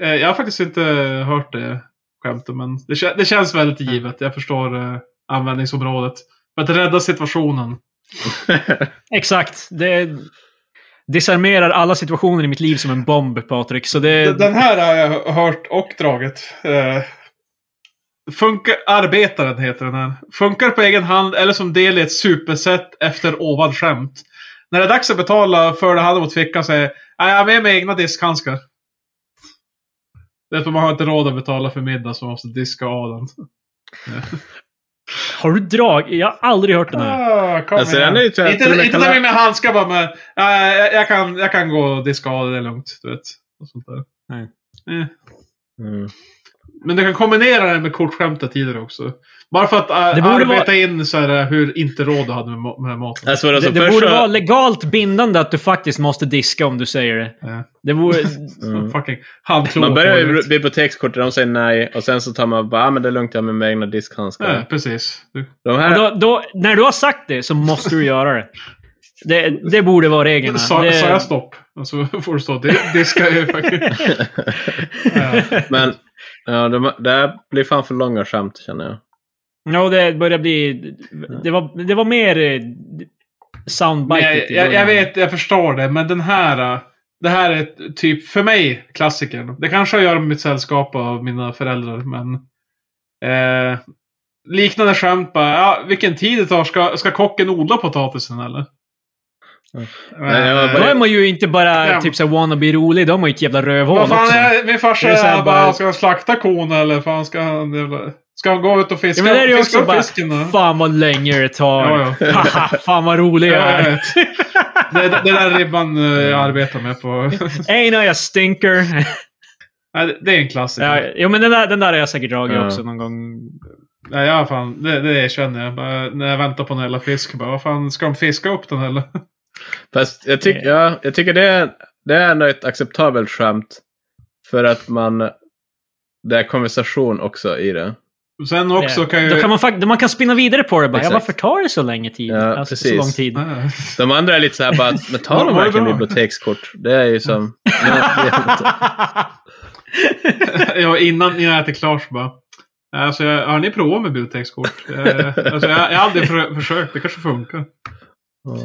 Speaker 2: eh, jag har faktiskt inte hört det skämtet. Men det, kä- det känns väldigt givet. Jag förstår eh, användningsområdet. För att rädda situationen.
Speaker 1: Exakt. Det disarmerar alla situationer i mitt liv som en bomb, Patrik. Så det...
Speaker 2: Den här har jag hört och dragit. Eh, Funkar, arbetaren heter den här. Funkar på egen hand eller som del i ett supersätt efter ovan skämt. När det är dags att betala för det handen mot fickan säger jag jag har med mig egna diskhandskar. Därför man har inte råd att betala för middag så man måste diska av den.
Speaker 1: Har du drag? Jag har aldrig hört den här.
Speaker 2: Ah, kom
Speaker 3: Alltså,
Speaker 2: igen.
Speaker 3: den är ju till-
Speaker 2: inte
Speaker 3: till och med
Speaker 2: inte ta
Speaker 3: kalla-
Speaker 2: med mig handskar bara men "Nej, jag, jag, kan, jag kan gå och diska av det, det är lugnt. Du vet. Och sånt där.
Speaker 1: Nej.
Speaker 2: Eh.
Speaker 3: Mm.
Speaker 2: Men du kan kombinera det med kortskämtet tidigare också. Bara för att äh,
Speaker 1: Det borde
Speaker 2: arbeta in så här, äh, hur inte råd du hade med, ma- med maten.
Speaker 3: Alltså, var det
Speaker 1: Det,
Speaker 3: alltså
Speaker 1: det
Speaker 3: första...
Speaker 1: borde vara legalt bindande att du faktiskt måste diska om du säger det.
Speaker 2: Ja.
Speaker 1: Det vore...
Speaker 3: Mm.
Speaker 2: Äh, Fucking handklo.
Speaker 3: Man börjar ju med
Speaker 2: Ja,
Speaker 3: bibliotekskortet, de säger nej. Och sen så tar man bara, ah, men det är lugnt, jag har med mig egna diskhandskar.
Speaker 2: precis. Du,
Speaker 3: De
Speaker 1: Och
Speaker 3: här...
Speaker 1: då, då, när du har sagt det så måste du göra det. Det, det borde vara reglerna.
Speaker 2: sa,
Speaker 1: det,
Speaker 2: sa jag stopp? Och så får du stå di- diska ju faktiskt. Ja.
Speaker 3: Men, ja, de, det här blir fan för långa skämt känner jag.
Speaker 1: Ja, det börjar bli... Det var, det var mer eh,
Speaker 2: Men
Speaker 1: soundbite.
Speaker 2: jag, jag, jag vet, jag förstår det. Men den här. äh, Det här är ett typ, för mig, klassikern. Det kanske har att göra med mitt sällskap av mina föräldrar, men... Eh, liknande skämt bara, ja, vilken tid det tar. Ska, ska kocken odla potatisen eller?
Speaker 3: Mm.
Speaker 2: Men,
Speaker 3: Nej, jag
Speaker 2: eh,
Speaker 1: Då är man ju inte bara
Speaker 2: Ja.
Speaker 1: typ såhär wannabe rolig, då är man ju ett jävla rövhål
Speaker 2: Vad fan
Speaker 1: också.
Speaker 2: är min farsa
Speaker 1: Det är så här
Speaker 2: är
Speaker 1: bara-
Speaker 2: bara, ska han slakta kon eller fan ska han jävla- Ska han gå ut och fiska?
Speaker 1: Ja, men det är ju
Speaker 2: fiska
Speaker 1: också
Speaker 2: upp
Speaker 1: bara,
Speaker 2: fisken då?
Speaker 1: fan vad länge det tar.
Speaker 2: Ja, ja.
Speaker 1: Haha, fan vad rolig jag
Speaker 2: Ja, jag
Speaker 1: är.
Speaker 2: vet. Det är det är den ribban eh,
Speaker 1: Mm.
Speaker 2: jag arbetar med på...
Speaker 1: Ej, no, jag stinker.
Speaker 2: Nej, det- det är en klassiker.
Speaker 1: Ja, jo, men den där, den där har jag säkert dragit
Speaker 3: Ja.
Speaker 1: också någon gång.
Speaker 2: Nej, ja, fan, det, det känner jag. Bara, när jag väntar på en jävla fisk. Bara, vad fan, ska de fiska upp den eller?
Speaker 3: Fast jag, tyck, ja, jag tycker det är, det är ändå ett acceptabelt skämt. För att man... Det är konversation också i det.
Speaker 2: Sen också
Speaker 1: Det-
Speaker 2: kan ju...
Speaker 1: Då kan man, fakt- man kan spinna vidare på det. Bara, ja,
Speaker 3: Exakt.
Speaker 1: varför tar det så länge tid?
Speaker 3: Ja,
Speaker 1: alltså, så
Speaker 3: precis.
Speaker 1: lång tid.
Speaker 2: Ja.
Speaker 3: De andra är lite så här bara, men tar de
Speaker 2: Vad
Speaker 3: verkligen
Speaker 2: bra.
Speaker 3: bibliotekskort? Det är ju som... Nej, det är inte.
Speaker 2: ja, innan innan jag äter klart så bara. Alltså, jag, har ni provat med bibliotekskort? Eh, alltså, jag, jag har aldrig för, försökt. Det kanske funkar.
Speaker 3: Ja.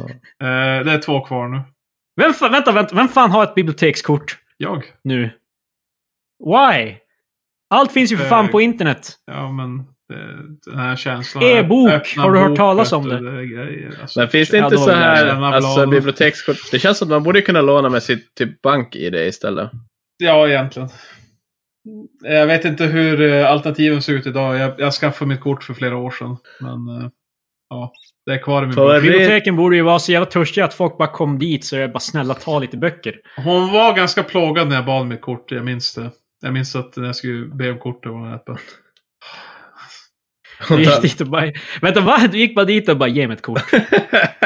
Speaker 2: Eh, det är två kvar nu.
Speaker 1: Vem, fa- vänta, vänta, vem fan har ett bibliotekskort
Speaker 2: Jag?
Speaker 1: nu? Why? Allt finns ju för fan
Speaker 2: Eh,
Speaker 1: på internet.
Speaker 2: Ja, men eh, den här känslan.
Speaker 1: E-bok.
Speaker 2: Öppna
Speaker 1: Har du hört
Speaker 2: bok,
Speaker 1: talas om
Speaker 2: vet du,
Speaker 1: det?
Speaker 2: är grejer, alltså.
Speaker 3: Men finns det
Speaker 1: Ja,
Speaker 3: inte
Speaker 1: de
Speaker 3: så här,
Speaker 2: jävla
Speaker 3: alltså
Speaker 2: bladen.
Speaker 3: bibliotekskort? Det känns som att man borde kunna låna med sitt typ bank i det istället.
Speaker 2: Ja, egentligen. Jag vet inte hur eh, alternativen ser ut idag. Jag, jag skaffade mitt kort för flera år sedan. Men eh, ja, det är kvar i min
Speaker 3: För-
Speaker 2: bok.
Speaker 1: Biblioteken borde ju vara så jävla törstiga att folk bara kom dit så jag bara snälla ta lite böcker.
Speaker 2: Hon var ganska plågad när jag bad om mitt kort. Jag minns det. Jag minns att när jag skulle be om kortet var hon rätt bara,
Speaker 1: Du gick dit och bara, vänta va? Du gick bara dit och bara ge mig ett kort.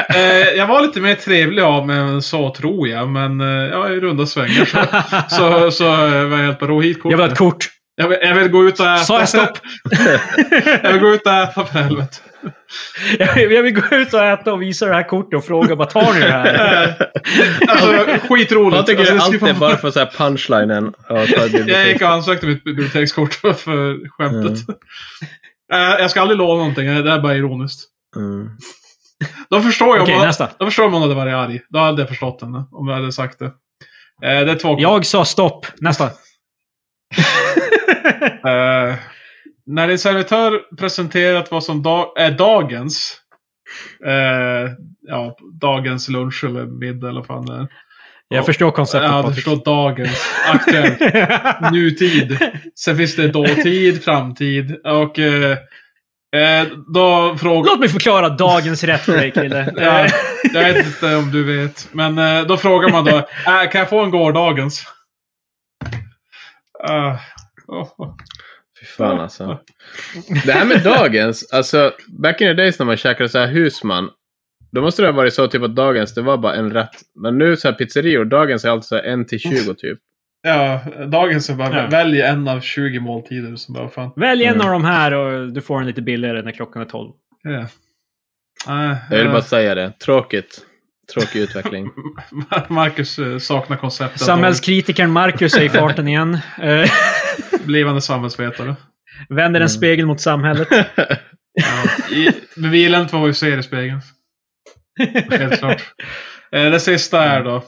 Speaker 2: eh, Jag var lite mer trevlig av mig än så tror jag. Men eh, ja, i runda svängar så, så, så eh, var jag helt bara ro hit kortet.
Speaker 1: jag vill ha ett kort.
Speaker 2: jag, vill, jag vill gå ut och äta.
Speaker 1: Sa jag stopp?
Speaker 2: jag vill gå ut och äta för helvete.
Speaker 1: jag, vill, jag vill gå ut och äta och visa det här kortet och fråga bara tar ni det här?
Speaker 2: Eh, Alltså skitroligt.
Speaker 3: Jag
Speaker 2: alltså,
Speaker 3: tycker
Speaker 2: det skulle
Speaker 3: alltid
Speaker 2: fan-
Speaker 3: bara för så här punchlinen. att ta ett
Speaker 2: Jag gick
Speaker 3: bibliotek.
Speaker 2: och ansökte mitt bibliotekskort för skämtet. Eh, Jag ska aldrig låna någonting, det är bara ironiskt.
Speaker 3: Mm.
Speaker 2: Då förstår jag
Speaker 1: Okej,
Speaker 2: om man,
Speaker 1: nästa.
Speaker 2: då förstår jag om hon hade varit arg. Då hade jag förstått henne, om jag hade sagt det. Eh, Det är två
Speaker 1: Jag sa stopp. Nästa.
Speaker 2: Eh, När din servitör presenterat vad som da- är dagens eh, ja, dagens lunch eller middag eller vad fan det är.
Speaker 1: Jag förstår konceptet.
Speaker 2: Ja, du
Speaker 1: Patrik.
Speaker 2: förstår dagens. Aktuellt. nutid. Sen finns det dåtid, framtid och... Eh, eh, då frågar...
Speaker 1: Låt mig förklara dagens rätt för dig kille.
Speaker 2: Ja,
Speaker 1: Eh,
Speaker 2: jag vet inte om du vet. Men eh, då frågar man då. Äh, kan jag få en gårdagens? Ah, åh.
Speaker 3: Fy fan alltså. Det här med dagens, alltså back in the days när man käkade så här husman. Då måste det ha varit så typ att dagens, det var bara en rätt. Men nu så här pizzerior, dagens är alltid så här 1 till 20 typ.
Speaker 2: Ja, dagens är bara
Speaker 1: Ja.
Speaker 2: välj en av 20 måltider. Som bara, fan.
Speaker 1: Välj en
Speaker 3: Mm.
Speaker 1: av de här och du får den lite billigare när klockan är 12.
Speaker 2: Ja. Nej,
Speaker 3: Jag vill
Speaker 1: Ah.
Speaker 2: eh,
Speaker 3: bara säga det. Tråkigt. Tråkig utveckling.
Speaker 2: Marcus eh, saknar konceptet.
Speaker 1: Samhällskritikern Marcus är i farten igen. Eh,
Speaker 2: av Blivande samhällsvetare.
Speaker 1: Vänder
Speaker 2: Mm.
Speaker 1: en spegel mot samhället.
Speaker 2: Ja. I, men vi gillar inte vad vi ser i spegeln. Helt klart. Eh, det sista är då.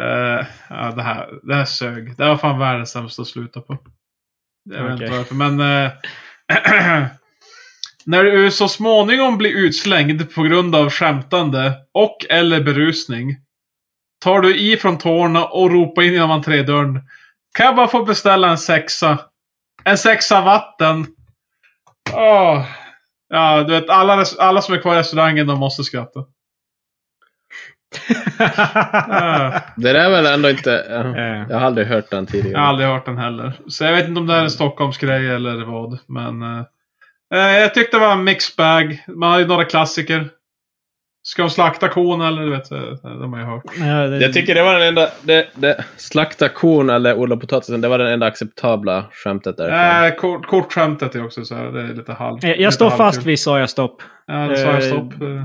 Speaker 2: Eh, ja, det, här, det här sög. Det här var fan världens sämsta att sluta på. Jag vet inte
Speaker 1: Okej.
Speaker 2: varför, men... Eh, när du så småningom blir utslängd på grund av skämtande och eller berusning. Tar du i från tårna och ropar in genom entrédörren. Kan jag bara få beställa en sexa? En sexa vatten. Åh. Ja, du vet alla, alla som är kvar i restaurangen de måste skratta. Ah,
Speaker 3: det där är väl ändå inte...
Speaker 1: Eh,
Speaker 3: Jag har aldrig hört den
Speaker 2: jag har
Speaker 3: tidigare.
Speaker 2: aldrig hört den heller. Så jag vet inte om
Speaker 3: Mm.
Speaker 2: det här är en Stockholmsgrej eller vad. Men eh, eh, jag tyckte det var en mixed bag. Man har ju några klassiker. Ska de slakta kon eller? Du vet, eh, de har ju hört.
Speaker 1: ja, det-
Speaker 3: Jag tycker det var den enda... Det, det, slakta kon eller odla potatisen, det var den enda acceptabla skämtet
Speaker 1: Äh.
Speaker 3: därifrån.
Speaker 2: Eh, kort, kortskämtet är också så här. Det är lite halv.
Speaker 1: jag,
Speaker 2: lite
Speaker 1: Eh, jag står
Speaker 2: halvkul.
Speaker 1: fast vid sa jag stopp.
Speaker 2: Ja, det sa jag
Speaker 1: eh,
Speaker 2: stopp. Eh,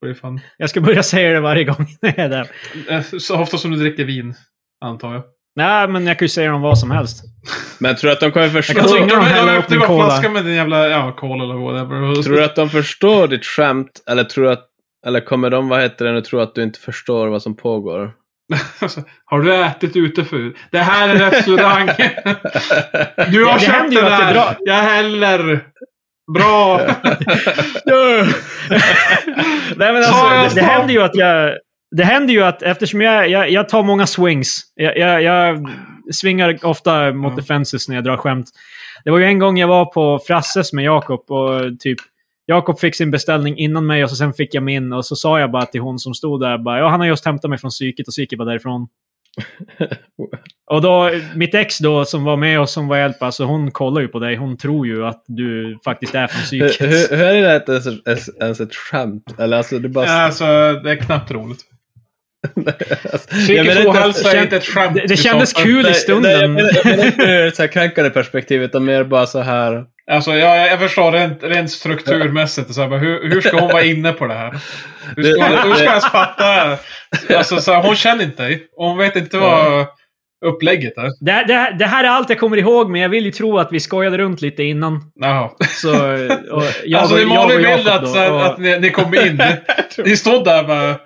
Speaker 2: det är fan.
Speaker 1: Jag ska börja säga det varje gång när jag är där.
Speaker 2: Eh, Så ofta som du dricker vin, antar jag.
Speaker 1: Nej, men jag kan ju säga det om vad som helst.
Speaker 3: Men tror du att de kommer
Speaker 1: Jag kan
Speaker 3: förstå...
Speaker 1: så ringa dem
Speaker 2: men-
Speaker 1: hälla
Speaker 2: men-
Speaker 1: upp min
Speaker 2: öppna
Speaker 1: cola.
Speaker 2: flaskan med din jävla, ja, cola eller whatever.
Speaker 3: Tror du att de förstår ditt skämt? Eller tror du att... Eller kommer de, vad heter det nu, tro att du inte förstår vad som pågår?
Speaker 2: Har du ätit ute förut? Det här är restaurang. Du har
Speaker 1: Ja, det
Speaker 2: köpt
Speaker 1: händer ju
Speaker 2: den
Speaker 1: att det är bra.
Speaker 2: här. Jag häller. Bra.
Speaker 1: Nej, men
Speaker 2: Sa
Speaker 1: alltså,
Speaker 2: jag
Speaker 1: det,
Speaker 2: stopp?
Speaker 1: det händer ju att jag... Det händer ju att eftersom jag, jag, jag tar många swings. Jag, jag, jag svingar ofta mot
Speaker 2: Ja.
Speaker 1: defenses när jag drar skämt. Det var ju en gång jag var på Frasses med Jakob och typ Jakob fick sin beställning innan mig och så sen fick jag min och så sa jag bara till hon som stod där bara, ja han har just hämtat mig från psyket och så gick jag bara därifrån. och då, mitt ex då som var med och som var hjälp, alltså hon kollar ju på dig. Hon tror ju att du faktiskt är från
Speaker 3: Hur,
Speaker 1: psyket.
Speaker 3: hur, hur är det där att ens, ens, ens ett skämt? Eller alltså, det bara...
Speaker 2: alltså, det är knappt roligt.
Speaker 3: Jag menar
Speaker 2: Psykisk
Speaker 3: inte-
Speaker 2: ohälsa är
Speaker 1: kän-
Speaker 2: inte ett skämt.
Speaker 1: det- det
Speaker 2: du
Speaker 1: kändes
Speaker 2: sa.
Speaker 1: kul. i stunden.
Speaker 3: Nej, jag menar- jag menar inte ur ett så här kränkande perspektiv, utan mer bara så här.
Speaker 2: Alltså, jag, jag- jag förstår rent, rent strukturmässigt. Så här, bara, hur, hur ska hon vara inne på det här? Hur ska,
Speaker 3: Det-
Speaker 2: hon, hur ska jag ens fatta? Alltså, så här, hon känner inte dig. Och hon vet inte vad upplägget är.
Speaker 1: Det, här- det, här- det här är allt jag kommer ihåg, men jag vill ju tro att vi skojade runt lite innan.
Speaker 2: Jaha.
Speaker 1: Så, och jag
Speaker 2: alltså,
Speaker 1: och-
Speaker 2: det är Malin
Speaker 1: jag och
Speaker 2: vill
Speaker 1: Jakob
Speaker 2: att,
Speaker 1: då,
Speaker 2: så här,
Speaker 1: och-
Speaker 2: att ni, ni kom in. Ni stod där bara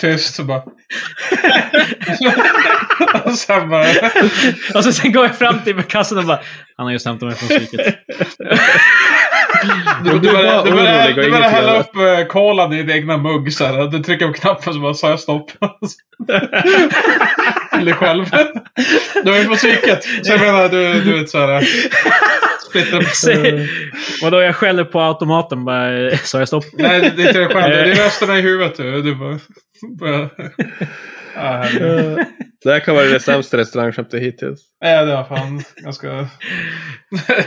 Speaker 2: tyst och bara... och sen bara...
Speaker 1: Och så sen går jag fram till kassan och bara Han har just hämtat mig från psyket.
Speaker 2: Du, du
Speaker 3: du
Speaker 2: börjar
Speaker 3: var
Speaker 2: du börjar-
Speaker 3: orolig och
Speaker 2: du börjar
Speaker 3: inget
Speaker 2: hälla
Speaker 3: annat.
Speaker 2: upp eh, kolan i din egna mugg så här. Du trycker på knappen så bara sa jag stopp. Eller själv. Du är ju på psyket. Så jag menar du, du vet så här. eh, Split up.
Speaker 1: Så- Vadå, jag skäller på automaten bara Sa jag stopp?
Speaker 2: Nej, det är inte det själv. Det är rösterna i huvudet. Du, du bara... bara ja, herregud.
Speaker 3: eh, Det här kan vara det sämsta restaurangskämtet hittills.
Speaker 2: Nej, det var fan. Jag ska...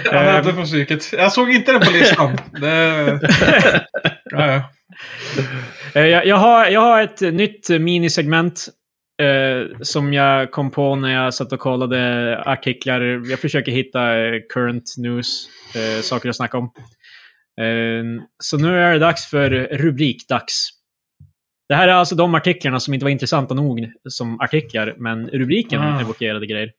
Speaker 2: Jag hämtar från psyket. Jag såg inte den på listan. Det... Ja, ja.
Speaker 1: Eh, Jag, jag, har, jag har ett nytt minisegment. Eh, som jag kom på när jag satt och kollade artiklar. Jag försöker hitta eh, current news, eh, saker att snacka om. Eh, så nu är det dags för rubrikdags. Det här är alltså de artiklarna som inte var intressanta nog som artiklar, men rubriken
Speaker 2: Ah.
Speaker 1: evokerade grejer.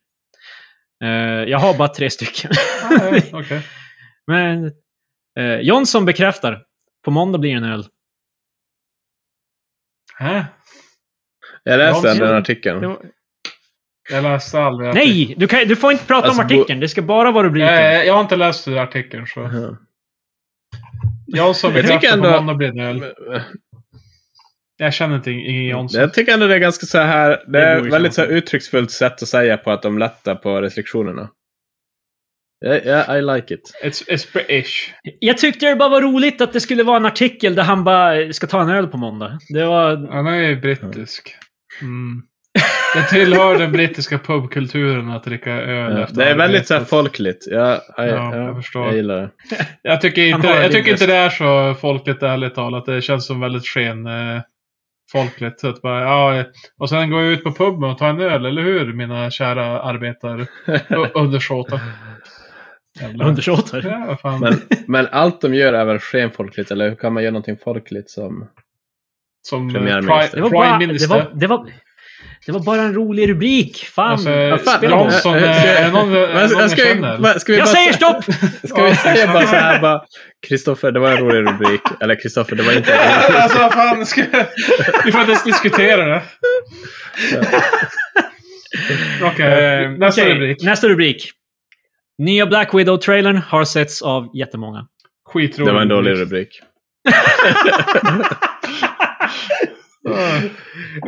Speaker 1: Eh, jag har bara tre stycken.
Speaker 2: Ah, Ja, ja, Okej.
Speaker 1: men, eh, Jonsson bekräftar. På måndag blir det en öl.
Speaker 2: Hä?
Speaker 3: Jag läste
Speaker 2: Ja,
Speaker 3: ändå den
Speaker 1: men-
Speaker 3: artikeln.
Speaker 1: Det var-
Speaker 2: Jag läste aldrig artikeln.
Speaker 1: Nej! Du, kan, du får inte prata
Speaker 3: Alltså,
Speaker 1: om artikeln. Det ska bara vara rubriken.
Speaker 2: Jag, jag har inte läst artikeln så.
Speaker 3: Ja.
Speaker 2: Jansson
Speaker 3: Jag tycker
Speaker 2: bekräftar på
Speaker 3: ändå-
Speaker 2: måndag blir det en öl. Jag känner inte
Speaker 3: Mm.
Speaker 2: ingen Jansson.
Speaker 3: Jag tycker ändå det är ganska så här. Det
Speaker 1: Det
Speaker 3: är
Speaker 1: bor i
Speaker 3: väldigt så här
Speaker 1: Stockholm.
Speaker 3: uttrycksfullt sätt att säga på att de lättar på restriktionerna. Ja, ja, I like it.
Speaker 2: It's, it's British.
Speaker 1: Jag tyckte det bara var roligt att det skulle vara en artikel där han bara ska ta en öl på måndag. Det var...
Speaker 2: Han är ju brittisk. Mm. Det tillhör den brittiska pubkulturen att dricka öl
Speaker 3: Ja,
Speaker 2: efter
Speaker 3: det är väldigt
Speaker 2: arbetet.
Speaker 3: så här folkligt. Ja, I, ja,
Speaker 2: jag
Speaker 3: jag,
Speaker 2: förstår.
Speaker 3: gillar det.
Speaker 2: Jag tycker,
Speaker 1: Han
Speaker 2: inte,
Speaker 1: har en
Speaker 2: jag tycker
Speaker 1: intresse.
Speaker 2: inte det är så folkligt ärligt talat. Det känns som väldigt sken eh, folkligt. Så att bara, ja, och sen går jag ut på puben och tar en öl, eller hur mina kära arbetar undersåtar? Jävlar.
Speaker 1: Undersåtar.
Speaker 2: Ja, vad fan.
Speaker 3: Men, men allt de gör är väl skenfolkligt, eller hur kan man göra någonting folkligt som...
Speaker 2: som
Speaker 3: Premiärminister.
Speaker 1: Det
Speaker 2: Prime,
Speaker 1: var,
Speaker 2: prime
Speaker 1: bara, det,
Speaker 2: Minister.
Speaker 1: var, det, var, det var bara en rolig rubrik. Fan.
Speaker 2: Alltså,
Speaker 1: Vad fan,
Speaker 3: spela om.
Speaker 2: Jansson,
Speaker 3: Jag-
Speaker 2: eh,
Speaker 3: jag-
Speaker 2: är det någon, är det
Speaker 3: Men,
Speaker 2: någon jag
Speaker 3: ska, vi,
Speaker 2: känner?
Speaker 3: va- ska vi
Speaker 1: Jag
Speaker 3: bara,
Speaker 1: säger stopp!
Speaker 3: Ska vi säga bara så här bara... Kristoffer, det var en rolig rubrik. Eller Kristoffer, det var inte en rolig
Speaker 2: alltså vad fan, ska... vi får inte ens diskutera det. Okej,
Speaker 1: Eh,
Speaker 2: nästa
Speaker 1: okej,
Speaker 2: rubrik.
Speaker 1: Nästa rubrik. Nya Black Widow-trailern har setts av jättemånga.
Speaker 2: Skitrolig
Speaker 3: Det var en dålig rubrik.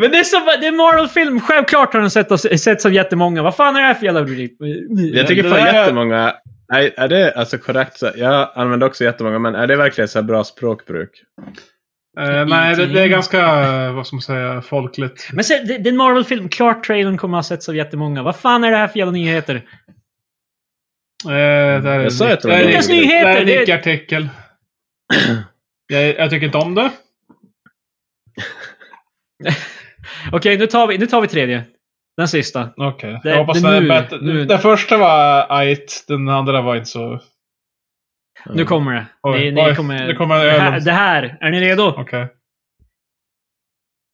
Speaker 1: Men det är, som, det är Marvel-film. Självklart har den setts, setts av jättemånga. Vad fan är det här för jävla rubrik?
Speaker 3: Jag tycker
Speaker 2: det
Speaker 3: fan
Speaker 2: där-
Speaker 3: jättemånga... Är, är det alltså korrekt? så- Jag använder också jättemånga, men är det verkligen så här bra språkbruk?
Speaker 2: Eh, nej, det, det är ganska, eh, vad ska man säga, folkligt.
Speaker 1: Men se, det, det är en Marvel-film. Klart trailern kommer att ha setts av jättemånga. Vad fan är det här för jävla nyheter?
Speaker 2: Eh, det här är
Speaker 3: Jag sa
Speaker 2: en-
Speaker 3: att det var
Speaker 2: här är
Speaker 3: en
Speaker 2: en-
Speaker 3: dålig
Speaker 1: rubrik.
Speaker 2: Det här är en
Speaker 1: Det är-
Speaker 2: icke-artikel. jag, jag tycker inte om det.
Speaker 1: Okej, nu tar vi, nu tar vi tredje. Den sista.
Speaker 2: Okej,
Speaker 1: Det-
Speaker 2: jag hoppas
Speaker 1: det
Speaker 2: det är
Speaker 1: nu-
Speaker 2: bättre.
Speaker 1: nu-
Speaker 2: Den första var ajt, den andra var inte så...
Speaker 1: Nu kommer det.
Speaker 2: Mm. Oj,
Speaker 1: ni, ni
Speaker 2: oj,
Speaker 1: kommer,
Speaker 2: nu kommer
Speaker 1: det, här,
Speaker 2: ölen.
Speaker 1: det här. Är ni redo?
Speaker 2: Okej.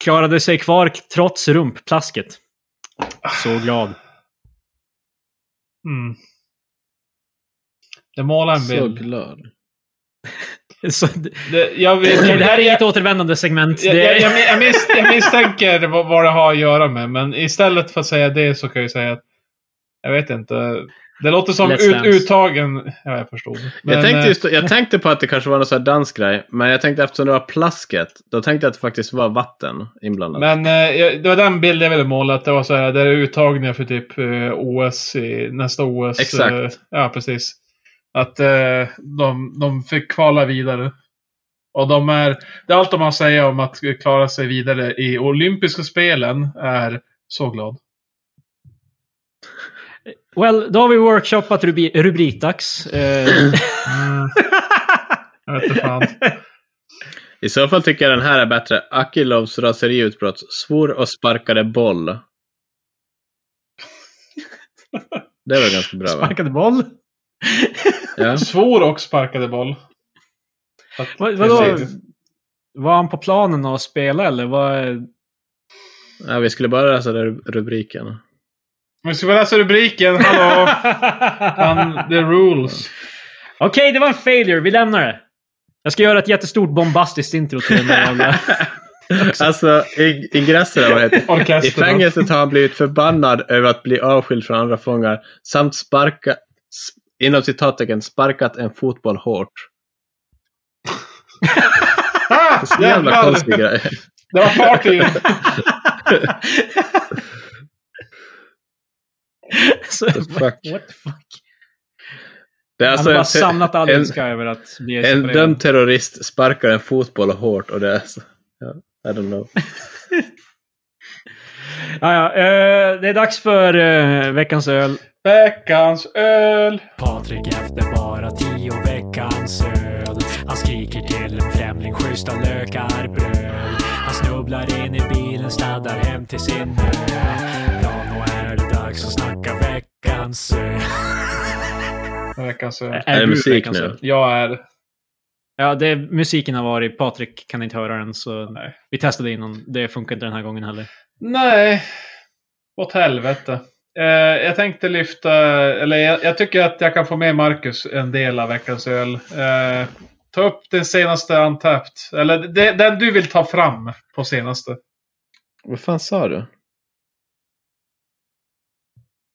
Speaker 1: Klarade sig kvar trots rumpplasket. Så glad.
Speaker 2: Mm. Det målar en
Speaker 3: Så
Speaker 2: bild.
Speaker 3: glad.
Speaker 1: Så,
Speaker 2: Det, jag, vet,
Speaker 1: Okej, det här är
Speaker 2: jag,
Speaker 1: inget återvändande segment.
Speaker 2: jag,
Speaker 1: det,
Speaker 2: jag, jag, jag, mis, jag misstänker vad, vad det har att göra med, men istället för att säga det så kan jag ju säga att jag vet inte. Det låter som
Speaker 1: Let's
Speaker 2: ut,
Speaker 1: Dance.
Speaker 2: uttagen... Ja, jag förstod. Men,
Speaker 3: jag, tänkte
Speaker 2: eh,
Speaker 3: just, jag tänkte på att det kanske var någon sån här dansk grej, men jag tänkte eftersom det var plasket, då tänkte jag att det faktiskt var vatten inblandat.
Speaker 2: men eh, jag, det var den bilden jag ville måla, att det var så här, det är uttagningar för typ eh, OS, i, nästa OS.
Speaker 3: Exakt.
Speaker 2: eh, ja, precis. Att eh, de, de fick kvala vidare. Och de är, det är allt de har att säga om att klara sig vidare i olympiska spelen är så glad.
Speaker 1: Well, då har vi workshoppat rubi, rubrikdags. Eh,
Speaker 2: Jag vet inte fan.
Speaker 3: I så fall tycker jag den här är bättre. Akilovs raseriutbrott. Svor och sparkade boll. Det var ganska bra va?
Speaker 1: Sparkade boll?
Speaker 3: Ja.
Speaker 2: Svor och sparkade boll. Att-
Speaker 1: Vad, vadå?
Speaker 2: Precis.
Speaker 1: Var han på planen och spelade eller? Vad,
Speaker 3: ja, vi skulle bara läsa den rubriken.
Speaker 2: Men ska vi läsa rubriken? Hallå? Han, the rules.
Speaker 1: Okej, det var en failure. Vi lämnar det. Jag ska göra ett jättestort bombastiskt intro till den där jävla...
Speaker 3: Alltså, i- ingressen eller vad det heter. I
Speaker 2: Orkestern.
Speaker 3: fängelset har han blivit förbannad över att bli avskild från andra fångar samt sparka, s- inom citattecken, sparkat en fotboll hårt.
Speaker 2: Ah,
Speaker 3: Så jävla
Speaker 2: jävlar!
Speaker 3: konstig grej.
Speaker 2: Det var fart i den.
Speaker 1: Så,
Speaker 3: The fuck.
Speaker 1: What the fuck?
Speaker 3: Det är
Speaker 1: Han
Speaker 3: alltså
Speaker 1: har bara
Speaker 3: en, te-
Speaker 1: samlat all
Speaker 3: en-
Speaker 1: ilska över att bli
Speaker 3: en
Speaker 1: separerad.
Speaker 3: dömd terrorist sparkar en fotboll hårt och det är så, ja, I don't know.
Speaker 1: Ja, ja, eh, det är dags för eh, veckans öl.
Speaker 2: Veckans öl.
Speaker 5: Patrik efter bara tio veckans öl Han skriker till en främling schyssta lökar bröl Han snubblar in i bilen, sladdar hem till sin ö Ja, nu är det dags att snacka veckans öl
Speaker 2: Veckans öl.
Speaker 3: Är det
Speaker 1: du
Speaker 3: musik
Speaker 1: veckans
Speaker 3: nu?
Speaker 1: öl?
Speaker 2: Jag är...
Speaker 1: Ja, det, musiken har varit. Patrik kan inte höra den, så
Speaker 2: Nej.
Speaker 1: vi testade innan. Det funkar inte den här gången heller.
Speaker 2: Nej. Åt helvete. Eh, jag tänkte lyfta... Eller jag, jag tycker att jag kan få med Marcus en del av veckans öl. Eh, ta upp den senaste Untapped. Eller det, den du vill ta fram på senaste.
Speaker 3: Vad fan sa du?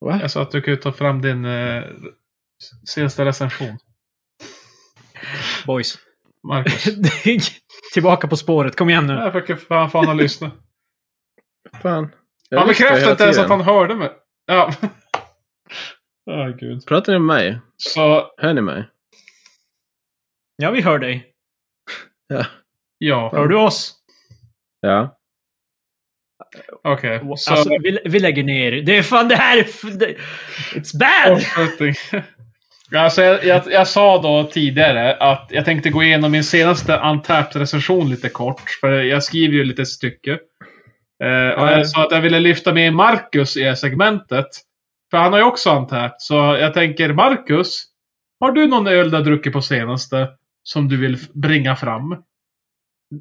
Speaker 3: Va?
Speaker 2: Jag sa Alltså att du kunde ta fram din eh, senaste recension.
Speaker 1: Boys.
Speaker 2: Marcus.
Speaker 1: Tillbaka på spåret. Kom igen nu.
Speaker 2: Jag fick ju fan fan att lyssna.
Speaker 3: Fan. Jag
Speaker 2: Han
Speaker 3: lyssnar
Speaker 2: bekräftade
Speaker 3: hela
Speaker 2: inte ens
Speaker 3: tiden.
Speaker 2: att han hörde mig. Ja. Ah, gud.
Speaker 3: Pratar ni med mig?
Speaker 2: Så,
Speaker 3: Hör ni mig?
Speaker 1: Ja, vi hör dig.
Speaker 3: Ja.
Speaker 2: ja.
Speaker 1: Hör du oss?
Speaker 3: ja.
Speaker 2: Okej. Så,
Speaker 1: Alltså, vi, vi lägger ner. Det är fan det här är... f- det- It's bad!
Speaker 2: avslutning. Alltså, jag, jag, jag sa då tidigare att jag tänkte gå igenom min senaste Untapped-recension lite kort. För jag skriver ju lite stycke. Eh, och jag sa att jag ville lyfta med Marcus i det här segmentet. För han har ju också Untapped. Så jag tänker, Marcus. Har du någon öl du har druckit på senaste? Som du vill f- bringa fram?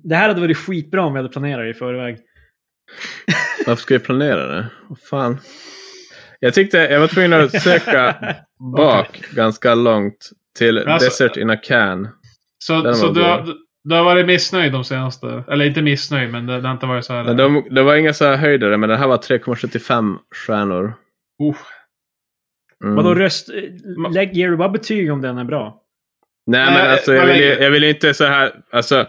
Speaker 1: Det här hade varit skitbra om vi hade planerat det i förväg.
Speaker 3: Varför ska vi planera det? Vad fan. Jag tyckte jag var tvungen att söka bak ganska långt till
Speaker 2: Alltså-
Speaker 3: Desert in a Can.
Speaker 2: Så,
Speaker 3: Den
Speaker 2: så
Speaker 3: var
Speaker 2: du,
Speaker 3: bra.
Speaker 2: har, du har varit missnöjd de senaste? Eller inte missnöjd, men det, det har inte varit så här.
Speaker 3: Men de, det var inga så här höjdare, men det här var 3,75 stjärnor.
Speaker 2: Oh,
Speaker 3: Mm.
Speaker 1: Vadå röst... eh, Lägg, ger du bara betyg om den är bra?
Speaker 3: Nej,
Speaker 2: Nej,
Speaker 3: men alltså jag
Speaker 2: vad
Speaker 3: vill, ju,
Speaker 2: Eh, lägger-
Speaker 3: jag vill ju inte så här, alltså.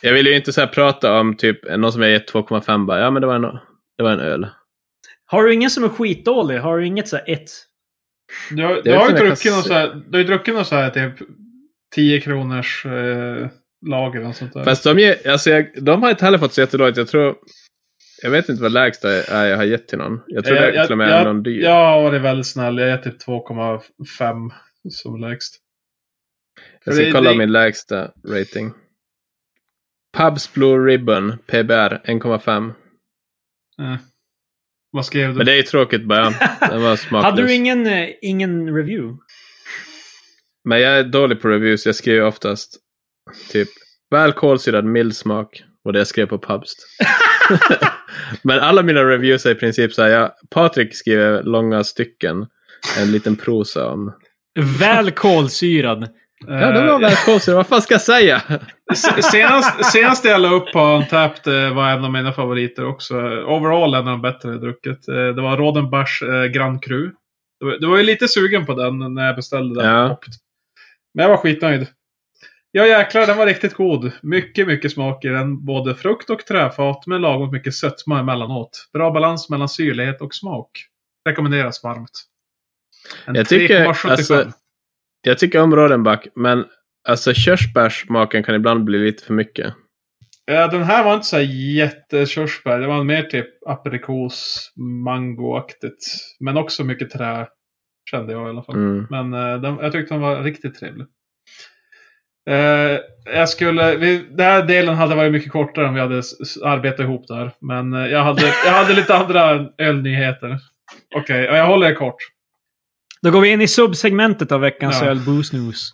Speaker 3: Jag vill ju inte så här prata om typ någon som jag gett 2,5 bara, ja men det var en, det var en öl.
Speaker 1: Har du ingen som är skitdålig? Har du inget så här ett?
Speaker 2: du, har-
Speaker 3: vet
Speaker 2: du har ju
Speaker 3: inte om jag
Speaker 2: druckit
Speaker 3: kan
Speaker 2: någon
Speaker 3: se-
Speaker 2: så här, du har ju druckit någon så här typ 10 kronors eh, lager och sånt där.
Speaker 3: Fast de, ger, alltså jag, de har inte heller fått så jättedåligt. Jag tror, jag vet inte vad lägsta är jag har gett till någon. Jag tror det är till och med är någon dyr.
Speaker 2: Eh, Jag har varit väldigt snäll. Jag är typ 2,5 som lägst.
Speaker 3: Jag ska
Speaker 2: Det-
Speaker 3: kolla
Speaker 2: det-
Speaker 3: min lägsta rating. Pubs Blue Ribbon, PBR 1,5.
Speaker 2: Eh. Vad skrev du?
Speaker 3: Men det är ju tråkigt bara. Den var smaklös.
Speaker 1: Hade du ingen, eh, ingen review?
Speaker 3: Men jag är dålig på reviews. Jag skriver oftast typ väl kolsyrad mild smak. Och det jag skrev på Pubst. Men alla mina reviews är i princip så här. Jag, Patrik skriver långa stycken. En liten prosa om.
Speaker 1: Väl kolsyrad.
Speaker 2: Eh,
Speaker 3: Ja, det var väl kolsyrad. Vad fan ska jag säga?
Speaker 2: senast, senast jag la upp på Untapped eh, var en av mina favoriter också. Overall en av de bättre jag druckit. Eh, Det var Rodenbachs eh, Grand Cru. Det var, det var ju lite sugen på den när jag beställde den.
Speaker 3: Ja.
Speaker 2: Men jag var skitnöjd. Ja jäklar, den var riktigt god. Mycket, mycket smak i den. Både frukt och träfat med lagom mycket sötma emellanåt. Bra balans mellan syrlighet och smak. Rekommenderas varmt. En
Speaker 3: Jag tycker,
Speaker 2: 3,75.
Speaker 3: alltså- Jag tycker om Rodenbach. Men alltså körsbärssmaken kan ibland bli lite för mycket.
Speaker 2: Ja, Eh, den här var inte så här jättekörsbär. Det var mer typ aprikos, mangoaktigt. Men också mycket trä, kände jag i alla fall.
Speaker 3: Mm.
Speaker 2: Men eh, den, jag tyckte den var riktigt trevlig. Eh, jag skulle, vi, den här delen hade varit mycket kortare om vi hade s- s- arbetat ihop där. Men eh, jag, hade, jag hade lite andra ölnyheter. Okej, ja, jag håller det kort.
Speaker 1: Då går vi in i subsegmentet av veckans
Speaker 2: Ja.
Speaker 1: öl, Booze News.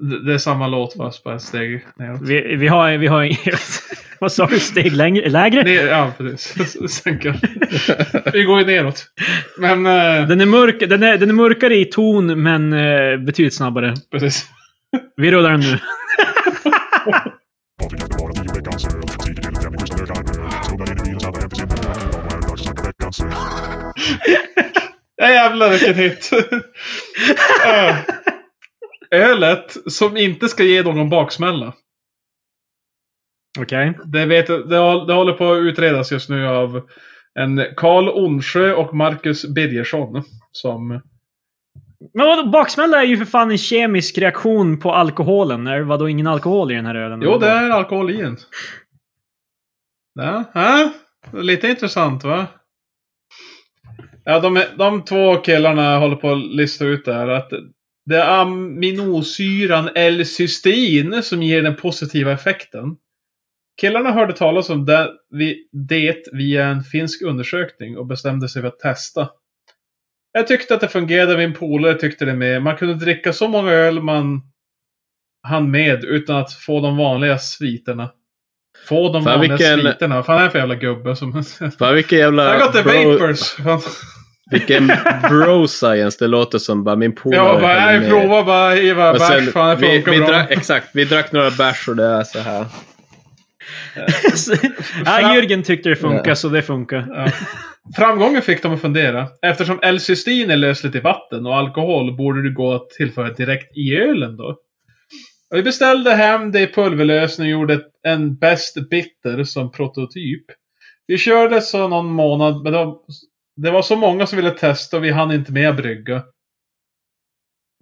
Speaker 2: D- Det är samma låt fast på ett steg neråt.
Speaker 1: Vi, vi har... Vi har vad sa du? Steg längre, lägre?
Speaker 2: Ner, ja, precis. Sänka. Vi går ju neråt. Men eh,
Speaker 1: Den är, mörk, den, är, den är mörkare i ton, men eh, betydligt snabbare.
Speaker 2: precis.
Speaker 1: Vi rullar den nu.
Speaker 2: Ja, jävlar vilken hit. Eh, Ölet som inte ska ge någon baksmälla.
Speaker 1: Okej.
Speaker 2: Det, vet, jag- det, hå- det håller på att utredas just nu av en Karl Onsjö och Marcus Birgersson. Som,
Speaker 1: Men vadå, baksmälla är ju för fan en kemisk reaktion på alkoholen. Är det vadå ingen alkohol i den här ölen?
Speaker 2: jo, det är alkohol i den. Ja, ja, lite intressant va? Ja, de, de två killarna håller på att lista ut det här. Att det är aminosyran L-cystein som ger den positiva effekten. Killarna hörde talas om det, vi- det via en finsk undersökning och bestämde sig för att testa. Jag tyckte att det fungerade, min polare tyckte det med. Man kunde dricka så många öl man hann med utan att få de vanliga sviterna. Få de
Speaker 3: Fan,
Speaker 2: vanliga
Speaker 3: vilken-
Speaker 2: sviterna. Vad fan är det för jävla gubbe som...
Speaker 3: Fan vilken
Speaker 2: I
Speaker 3: jävla...
Speaker 2: got the
Speaker 3: Bro,
Speaker 2: vapors! Fan.
Speaker 3: vilken bro science. Det låter som bara min polare
Speaker 2: Jag bara, nej,
Speaker 3: häller ner.
Speaker 2: prova bara, Eva,
Speaker 3: Och sen,
Speaker 2: bärs, fan det
Speaker 3: vi,
Speaker 2: funkar
Speaker 3: vi
Speaker 2: bra.
Speaker 3: drack, exakt, vi drack några bärs och det är så här.
Speaker 1: ja, Jürgen tyckte det funkar, så det funkar.
Speaker 2: Ja. Framgången fick dem att fundera. Eftersom L-cystin är lösligt i vatten och alkohol borde det gå att tillföra direkt i ölen då. Och Vi beställde hem det i pulverlösning och gjorde ett- en Best Bitter som prototyp. Vi körde så någon månad, men det var, det var så många som ville testa och vi hann inte med att brygga.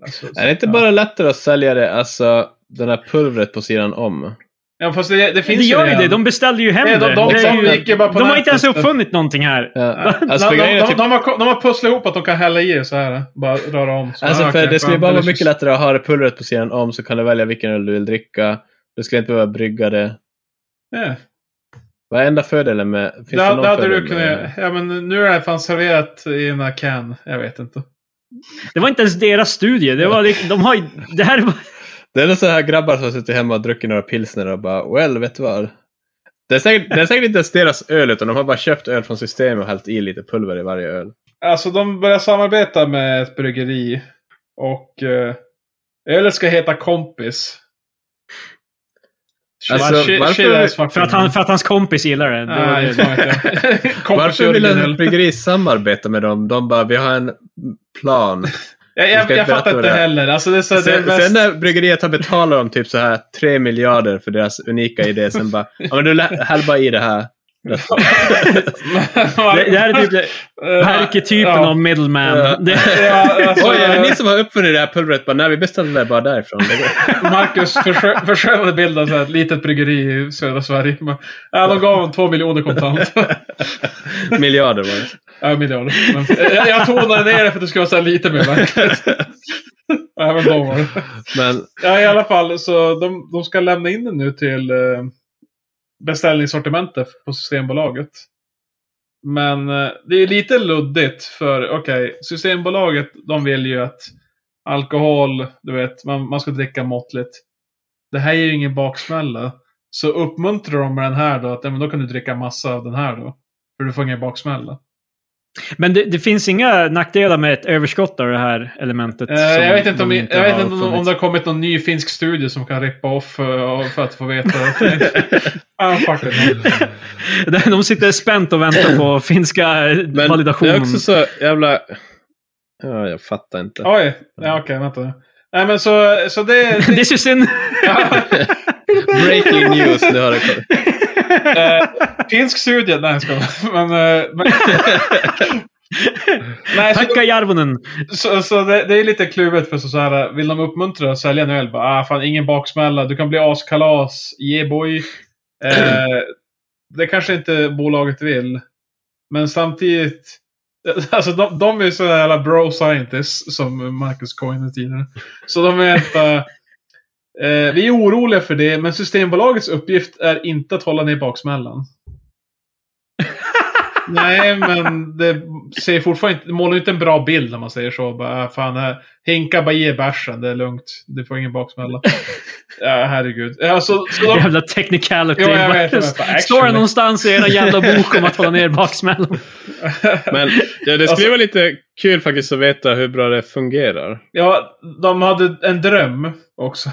Speaker 2: Alltså,
Speaker 3: Är det inte
Speaker 2: ja.
Speaker 3: bara lättare att sälja det, alltså den här pulvret på sidan om? Eh,
Speaker 2: Ja, fast det, det finns
Speaker 1: det gör ju
Speaker 2: redan.
Speaker 1: det. De beställde ju hem
Speaker 2: Nej, de-
Speaker 1: det.
Speaker 2: de-
Speaker 1: det. är
Speaker 2: de
Speaker 1: ju-
Speaker 2: gick ju bara på
Speaker 1: de har inte ens
Speaker 2: nätet.
Speaker 1: uppfunnit någonting här.
Speaker 3: Ja. Alltså, för
Speaker 2: de,
Speaker 3: grejen är
Speaker 2: de,
Speaker 3: typ,
Speaker 2: de, har, de har pusslat ihop att de kan hälla i det så här. Bara röra om. Så
Speaker 3: alltså
Speaker 2: här,
Speaker 3: för
Speaker 2: Ah, okej,
Speaker 3: det skulle
Speaker 2: fan,
Speaker 3: bara vara
Speaker 2: delicious.
Speaker 3: mycket lättare att ha det pulvret på sidan om så kan du välja vilken öl du vill dricka. Du skulle inte behöva brygga det.
Speaker 2: Ja.
Speaker 3: Vad är enda fördelen med... Finns
Speaker 2: Det, det hade
Speaker 3: fördel
Speaker 2: du
Speaker 3: med det?
Speaker 2: kunnat Ja men nu är det fan serverat i en här can. Jag vet inte.
Speaker 1: Det var inte ens deras studie. Det, var, liksom- de har, ju- det här var,
Speaker 3: Det är nog så här grabbar som har suttit hemma och druckit några pilsner och bara well, vet du vad? Det är, säkert, det är säkert inte ens deras öl utan de har bara köpt öl från systemet och hällt i lite pulver i varje öl.
Speaker 2: Alltså de börjar samarbeta med ett bryggeri. Och eh, ölet ska heta Kompis.
Speaker 3: Alltså,
Speaker 2: Shit- shit
Speaker 3: varför-
Speaker 2: is fucking-
Speaker 1: för, att han, för att hans kompis gillar det. det, var
Speaker 2: Nej,
Speaker 1: det.
Speaker 2: fan vet jag. Kompis
Speaker 3: Varför vill
Speaker 2: original.
Speaker 3: ett bryggeri samarbeta med dem? De bara vi har en plan.
Speaker 2: Jag,
Speaker 3: Vi
Speaker 2: jag,
Speaker 3: ska
Speaker 2: jag
Speaker 3: inte
Speaker 2: fattar
Speaker 3: berätta
Speaker 2: inte
Speaker 3: vad det är.
Speaker 2: heller. Alltså det är så det är
Speaker 3: Sen,
Speaker 2: bäst.
Speaker 3: sen när bryggeriet har betalat dem typ så här 3 miljarder för deras unika idé sen bara ja men du lä- häll bara i det här.
Speaker 1: Det, det här är typ arketypen
Speaker 2: Ja.
Speaker 1: av middleman.
Speaker 3: Ja.
Speaker 1: Det,
Speaker 2: Ja, alltså,
Speaker 3: Oj, är det ni som har uppfunnit det här pulvret? Bara, nej, vi beställde det bara därifrån. Det går-
Speaker 2: Marcus förskö- förskönade bilden av så här ett litet bryggeri i södra Sverige. Men, ja, de gav honom två miljoner kontant.
Speaker 3: miljarder var det.
Speaker 2: ja, miljarder. Men, eh, jag, jag tonade ner det för att det skulle vara så här lite mer verkligt. ja, men de var det.
Speaker 3: Men
Speaker 2: Ja, i alla fall. Så de, de ska lämna in den nu till eh, beställningssortimentet på Systembolaget. Men eh, det är lite luddigt för, okej, Systembolaget, de vill ju att alkohol, du vet, man, man ska dricka måttligt. Det här är ju ingen baksmälla. Så uppmuntrar de med den här då, att ja, men då kan du dricka massa av den här då. För du får ingen baksmälla.
Speaker 1: men det, det finns inga nackdelar med ett överskott av det här elementet.
Speaker 2: Eh,
Speaker 1: som
Speaker 2: jag vet inte, om,
Speaker 1: de
Speaker 2: jag vet
Speaker 1: har
Speaker 2: inte om, om
Speaker 1: uppfunnit.
Speaker 2: det har kommit någon ny finsk studie som kan rippa off eh, för att få veta. att det inte- Ah, fuck it.
Speaker 1: De sitter spänt och väntar på finska
Speaker 3: Men
Speaker 1: validationen.
Speaker 3: det är också så jävla... Ja, jag fattar inte.
Speaker 2: Oj, ja, okej, vänta nu. Nej men så, så det...
Speaker 1: Det är så synd.
Speaker 3: Breaking news, nu har det kommit.
Speaker 2: eh, finsk studie, nej jag skojar. Men, eh, men, nej, så,
Speaker 1: Tacka Jarvonen.
Speaker 2: så, så det, det är lite kluvet för så, så här, vill de uppmuntra att sälja en öl? Bara, ah, fan ingen baksmälla, du kan bli askalas, yeah boy. Eh, det kanske inte bolaget vill. Men samtidigt, alltså de, de är ju sådana jävla bro scientists som Marcus coinade tidigare. Så de är helt bara, Eh, vi är oroliga för det, men Systembolagets uppgift är inte att hålla ner baksmällan. Nej, men det ser fortfarande inte, det målar ju inte en bra bild när man säger så. Bara, äh, fan, äh, hinka bara ge bärsen, det är lugnt. Du får ingen baksmälla. ja, herregud. Ja, så, så de,
Speaker 1: Jävla technicality.
Speaker 2: Jo, jag vet, jag vet.
Speaker 1: Står
Speaker 2: Fan,
Speaker 1: det
Speaker 2: actually.
Speaker 1: någonstans i era jävla bok om att hålla ner baksmällan?
Speaker 3: Men ja, det skulle
Speaker 2: Alltså-
Speaker 3: vara lite kul faktiskt att veta hur bra det fungerar.
Speaker 2: ja, de hade en dröm också.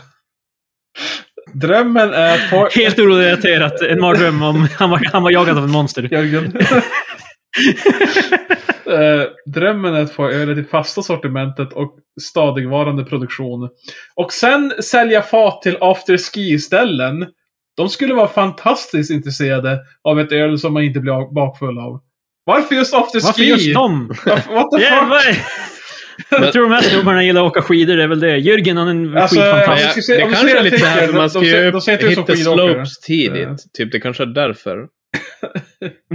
Speaker 2: Drömmen är att... folk-
Speaker 1: Helt orelaterat. En mardröm om han var, han var jagad av en monster.
Speaker 2: Jörgen. Eh, Drömmen är att få ölet i fasta sortimentet och stadigvarande produktion. Och sen sälja fat till afterski-ställen. De skulle vara fantastiskt intresserade av ett öl som man inte blir bakfull av. Varför just afterski?
Speaker 1: Varför just dem?
Speaker 2: Varför- What the fuck?
Speaker 1: Jävlar! Jag tror de här snubbarna gillar att åka skidor, det är väl det. Jürgen han är en
Speaker 2: Alltså,
Speaker 1: skidfantast.
Speaker 2: om
Speaker 3: Ja,
Speaker 2: vi ska se-
Speaker 3: det
Speaker 2: om vi
Speaker 3: kanske
Speaker 2: ser
Speaker 3: är lite
Speaker 2: artikeln,
Speaker 3: det här för
Speaker 2: de-
Speaker 3: man
Speaker 2: de
Speaker 3: ska
Speaker 2: ser-
Speaker 3: ju
Speaker 2: de ser inte ut som
Speaker 3: hitta
Speaker 2: skidåkare.
Speaker 3: slopes tidigt. Typ, det kanske är därför.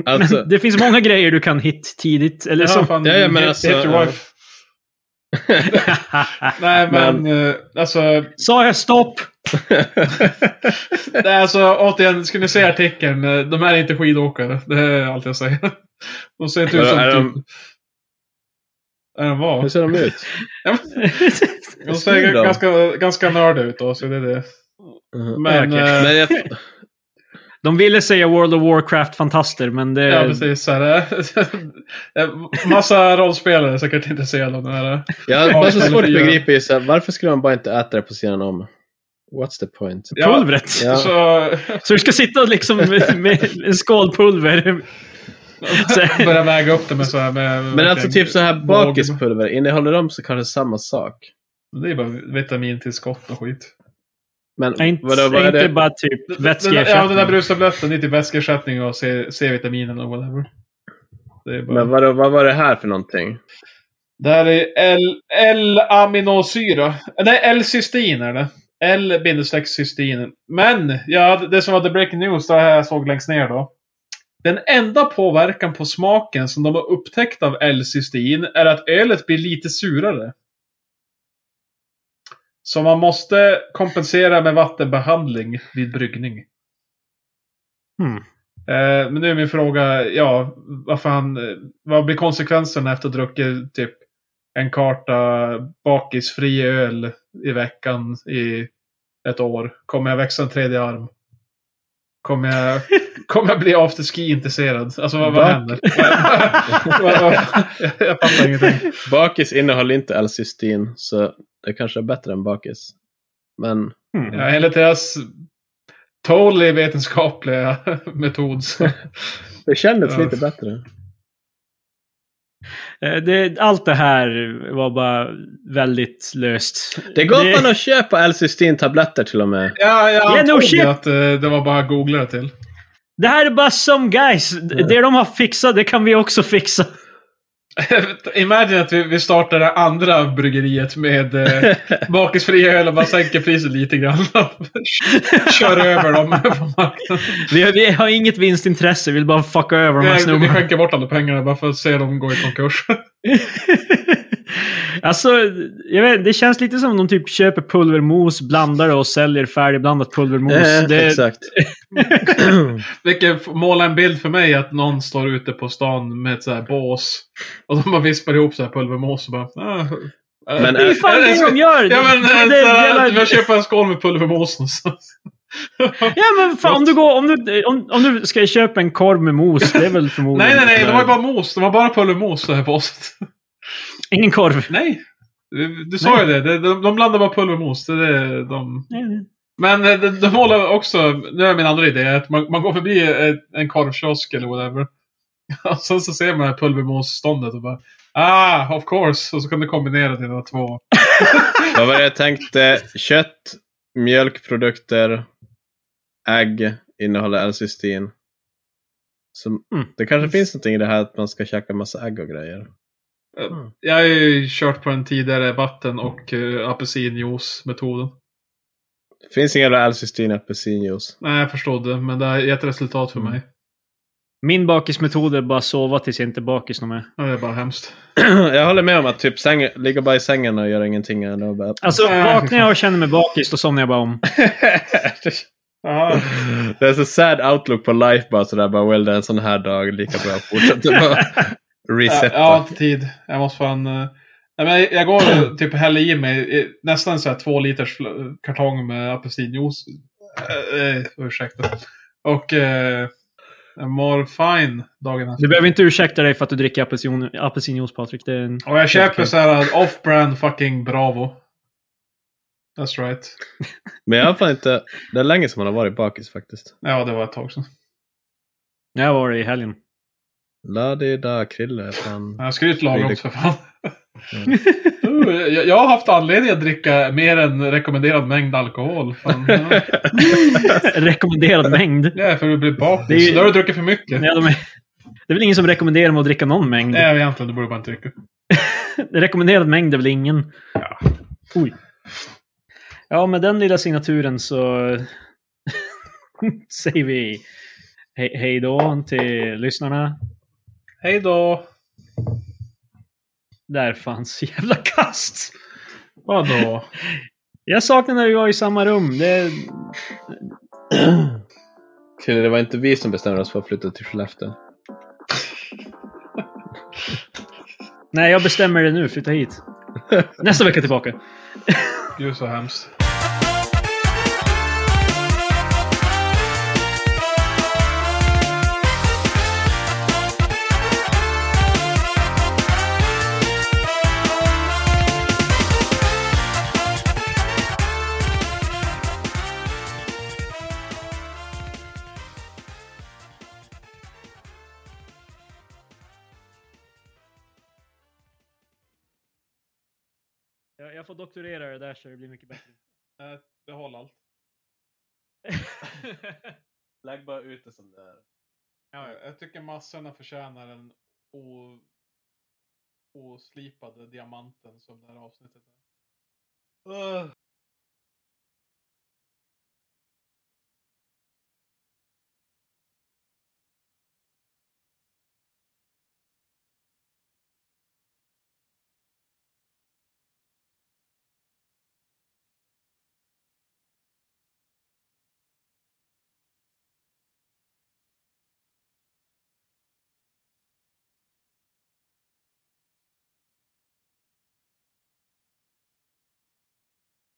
Speaker 3: Alltså,
Speaker 1: Men det finns många grejer du kan hit tidigt. Eller
Speaker 2: Ja,
Speaker 1: som...
Speaker 2: fan,
Speaker 3: Ja, ja, men
Speaker 2: hit-
Speaker 3: alltså,
Speaker 2: hit your
Speaker 3: ja.
Speaker 2: wife. Nej, men, eh, alltså.
Speaker 1: Sa jag stopp?
Speaker 2: Nej, alltså återigen, ska ni se artikeln? eh, De här är inte skidåkare. Det är allt jag säger. De ser inte ut
Speaker 3: Vadå,
Speaker 2: som...
Speaker 3: är de-
Speaker 2: typ- Är de
Speaker 3: hur
Speaker 2: vad?
Speaker 3: ser de ut?
Speaker 2: De ser
Speaker 3: då?
Speaker 2: ganska, ganska nörda ut då, så det är det. Men...
Speaker 1: okej.
Speaker 2: eh,
Speaker 3: Men jag,
Speaker 1: De ville säga World of Warcraft-fantaster, men det...
Speaker 2: Ja, precis. Så här, eh, massa rollspelare är säkert intresserade av den här. eh.
Speaker 3: jag har
Speaker 2: Ja,
Speaker 3: bara så
Speaker 2: istället
Speaker 3: svårt att
Speaker 2: för att göra-
Speaker 3: begripa just, så här, varför skulle man bara inte äta det på sidan om? What's the point?
Speaker 2: Ja,
Speaker 1: Pulvret!
Speaker 3: Ja.
Speaker 2: Så,
Speaker 1: Så du ska sitta och liksom med, med en skål pulver. Så-
Speaker 2: börja väga upp det med så här med...
Speaker 3: Men alltså typ så här
Speaker 2: Båg.
Speaker 3: bakispulver, innehåller de så kanske samma sak?
Speaker 2: Det är bara vitamintillskott och skit.
Speaker 3: Men
Speaker 1: Nej, inte,
Speaker 3: vadå, vad är
Speaker 1: inte
Speaker 3: det?
Speaker 1: bara typ
Speaker 2: Den- den- Ja, den där
Speaker 1: vätskeersättning.
Speaker 2: brustabletten är typ vätskeersättning och C- C-vitaminen och whatever. Det, är bara...
Speaker 3: Men vadå, vad var det här för någonting?
Speaker 2: det här är L- L-aminosyra. Nej, L-cystin är det. L-cystin. Men, ja, det som var the breaking news, det här jag såg längst ner då. Den enda påverkan på smaken som de har upptäckt av L-cystin är att ölet blir lite surare. Så man måste kompensera med vattenbehandling vid bryggning.
Speaker 1: Hmm.
Speaker 2: Eh, men nu är min fråga, ja, vad fan, eh, vad blir konsekvenserna efter att ha druckit typ en karta bakisfri öl i veckan i ett år? Kommer jag växa en tredje arm? Kommer jag, kommer jag bli afterski-intresserad? Alltså vad, vad
Speaker 3: Bak-
Speaker 2: händer? Vad- vad- jag, jag fattar ingenting.
Speaker 3: Bakis innehåller inte L-cystin, så det kanske är bättre än bakis. Men
Speaker 2: Ja, enligt deras totally vetenskapliga metod så.
Speaker 3: det kändes
Speaker 2: Ja.
Speaker 3: lite bättre.
Speaker 1: Eh, Det, allt det här var bara väldigt löst.
Speaker 3: Det går fan att köpa L-cystin-tabletter till och med.
Speaker 2: Ja, jag
Speaker 1: Yeah, no
Speaker 2: antog
Speaker 1: shit.
Speaker 2: att eh, det var bara att googla det till.
Speaker 1: Det här är bara some guys. Det de har fixat, det kan vi också fixa.
Speaker 2: Imagine att vi, vi startar det andra bryggeriet med eh, bakisfria öl och bara sänker priset lite grann. Kör över dem på marknaden.
Speaker 1: Vi har, vi har inget vinstintresse, vi vill bara fucka över de här
Speaker 2: Nej, Vi
Speaker 1: snubbarna.
Speaker 2: skänker bort alla pengarna bara för att se dem gå i konkurs.
Speaker 1: alltså, jag vet, det känns lite som de typ köper pulvermos, blandar det och säljer färdigblandat pulvermos.
Speaker 3: Eh,
Speaker 1: det,
Speaker 3: Exakt.
Speaker 2: Vilket målar en bild för mig att någon står ute på stan med ett så här bås. Och de bara vispar ihop så här pulvermos och bara... Ah, eh,
Speaker 3: Men
Speaker 1: det är ju fan det de gör!
Speaker 2: Ja men,
Speaker 1: det,
Speaker 2: eh,
Speaker 1: det,
Speaker 2: så här,
Speaker 1: det-
Speaker 2: jag köper en skål med pulvermos någonstans.
Speaker 1: Ja men fan, om du, går, om, du, om, om du ska köpa en korv med mos, det är väl förmodligen...
Speaker 2: Nej, nej, nej. Det var ju bara mos. Det var bara pulvermos, det här båset.
Speaker 1: Ingen korv.
Speaker 2: Nej. Du, du sa ju det. De, de, de blandar bara pulvermos. Det, är det, de... Men eh, de, de håller också, nu är min andra idé, att man, man går förbi ett- en korvkiosk eller whatever. Och sen så ser man det här pulvermosståndet och bara Ah, of course! Och så kan du kombinera dina två.
Speaker 3: Vad var det jag tänkte? Kött, mjölkprodukter, ägg innehåller L-cystin. Så
Speaker 1: Mm.
Speaker 3: Det kanske finns någonting i det här att man ska käka massa ägg och grejer.
Speaker 2: Eh,
Speaker 3: Mm.
Speaker 2: Jag har ju kört på den tidigare vatten och uh, apelsinjuice-metoden.
Speaker 3: Det finns ingen jävla L-cystin i apelsinjuice.
Speaker 2: Nej, jag förstod det, men det har gett resultat för
Speaker 3: Mm.
Speaker 2: mig.
Speaker 1: Min bakismetod är bara sova tills jag inte är bakis någon mer.
Speaker 2: Ja, Det är bara hemskt.
Speaker 3: Jag håller med om att typ säng, ligga bara i sängen och göra ingenting. Eller bara...
Speaker 1: Alltså
Speaker 2: Mm.
Speaker 1: vaknar jag och känner mig bakis, då somnar jag bara om.
Speaker 3: Ah.
Speaker 2: Ja,
Speaker 3: det är så sad outlook på life bara sådär. Bara, well, det är en sån här dag. Lika bra att fortsätta bara
Speaker 2: jag,
Speaker 3: resetta.
Speaker 2: jag har inte tid. Jag måste fan... eh, Nej, men jag, jag går och typ och häller i mig eh, nästan så här två liters fl- kartong med apelsinjuice. Eh, eh, ursäkta. Och eh, jag mår fine dagen efter.
Speaker 1: Du behöver inte ursäkta dig för att du dricker apelsin, apelsinjuice Patrik. Det är en...
Speaker 2: Och jag köper
Speaker 1: Okej.
Speaker 2: så här off-brand fucking Bravo. That's right.
Speaker 3: Men jag har fan inte... Det är länge som man har varit bakis faktiskt.
Speaker 2: Ja, det var ett tag sedan.
Speaker 1: Jag var det i helgen.
Speaker 3: La-di-da, Krille. Fan.
Speaker 2: Jag skulle ju inte laga
Speaker 3: Blir det-
Speaker 2: också för fan.
Speaker 1: Mm.
Speaker 2: Uh, jag, jag har haft anledning att dricka mer än rekommenderad mängd alkohol. Fan. Ja.
Speaker 1: Rekommenderad mängd.
Speaker 2: Ja, för du blir bakis.
Speaker 1: Det är ju-
Speaker 2: Då har du druckit för mycket.
Speaker 1: Ja, de är... Det är väl ingen som rekommenderar mig att dricka någon mängd?
Speaker 2: Nej, egentligen. Du borde bara inte dricka.
Speaker 1: Rekommenderad mängd är väl ingen? Ja. Oj. Ja, med den lilla signaturen så säger vi he- hej då till lyssnarna.
Speaker 2: Hej då!
Speaker 1: Där fanns jävla kast.
Speaker 2: Vadå?
Speaker 1: Jag saknar när vi var i samma rum. Det...
Speaker 3: Krille, det var inte vi som bestämde oss för att flytta till Skellefteå.
Speaker 1: Nej, jag bestämmer det nu. Flytta hit. Nästa vecka tillbaka.
Speaker 2: Gud så hemskt.
Speaker 1: Jag, jag får doktorera det där så det blir mycket bättre.
Speaker 2: Behåll allt.
Speaker 3: Lägg bara ut det som det är.
Speaker 2: Jag tycker massorna förtjänar den o... oslipade diamanten som det här avsnittet är.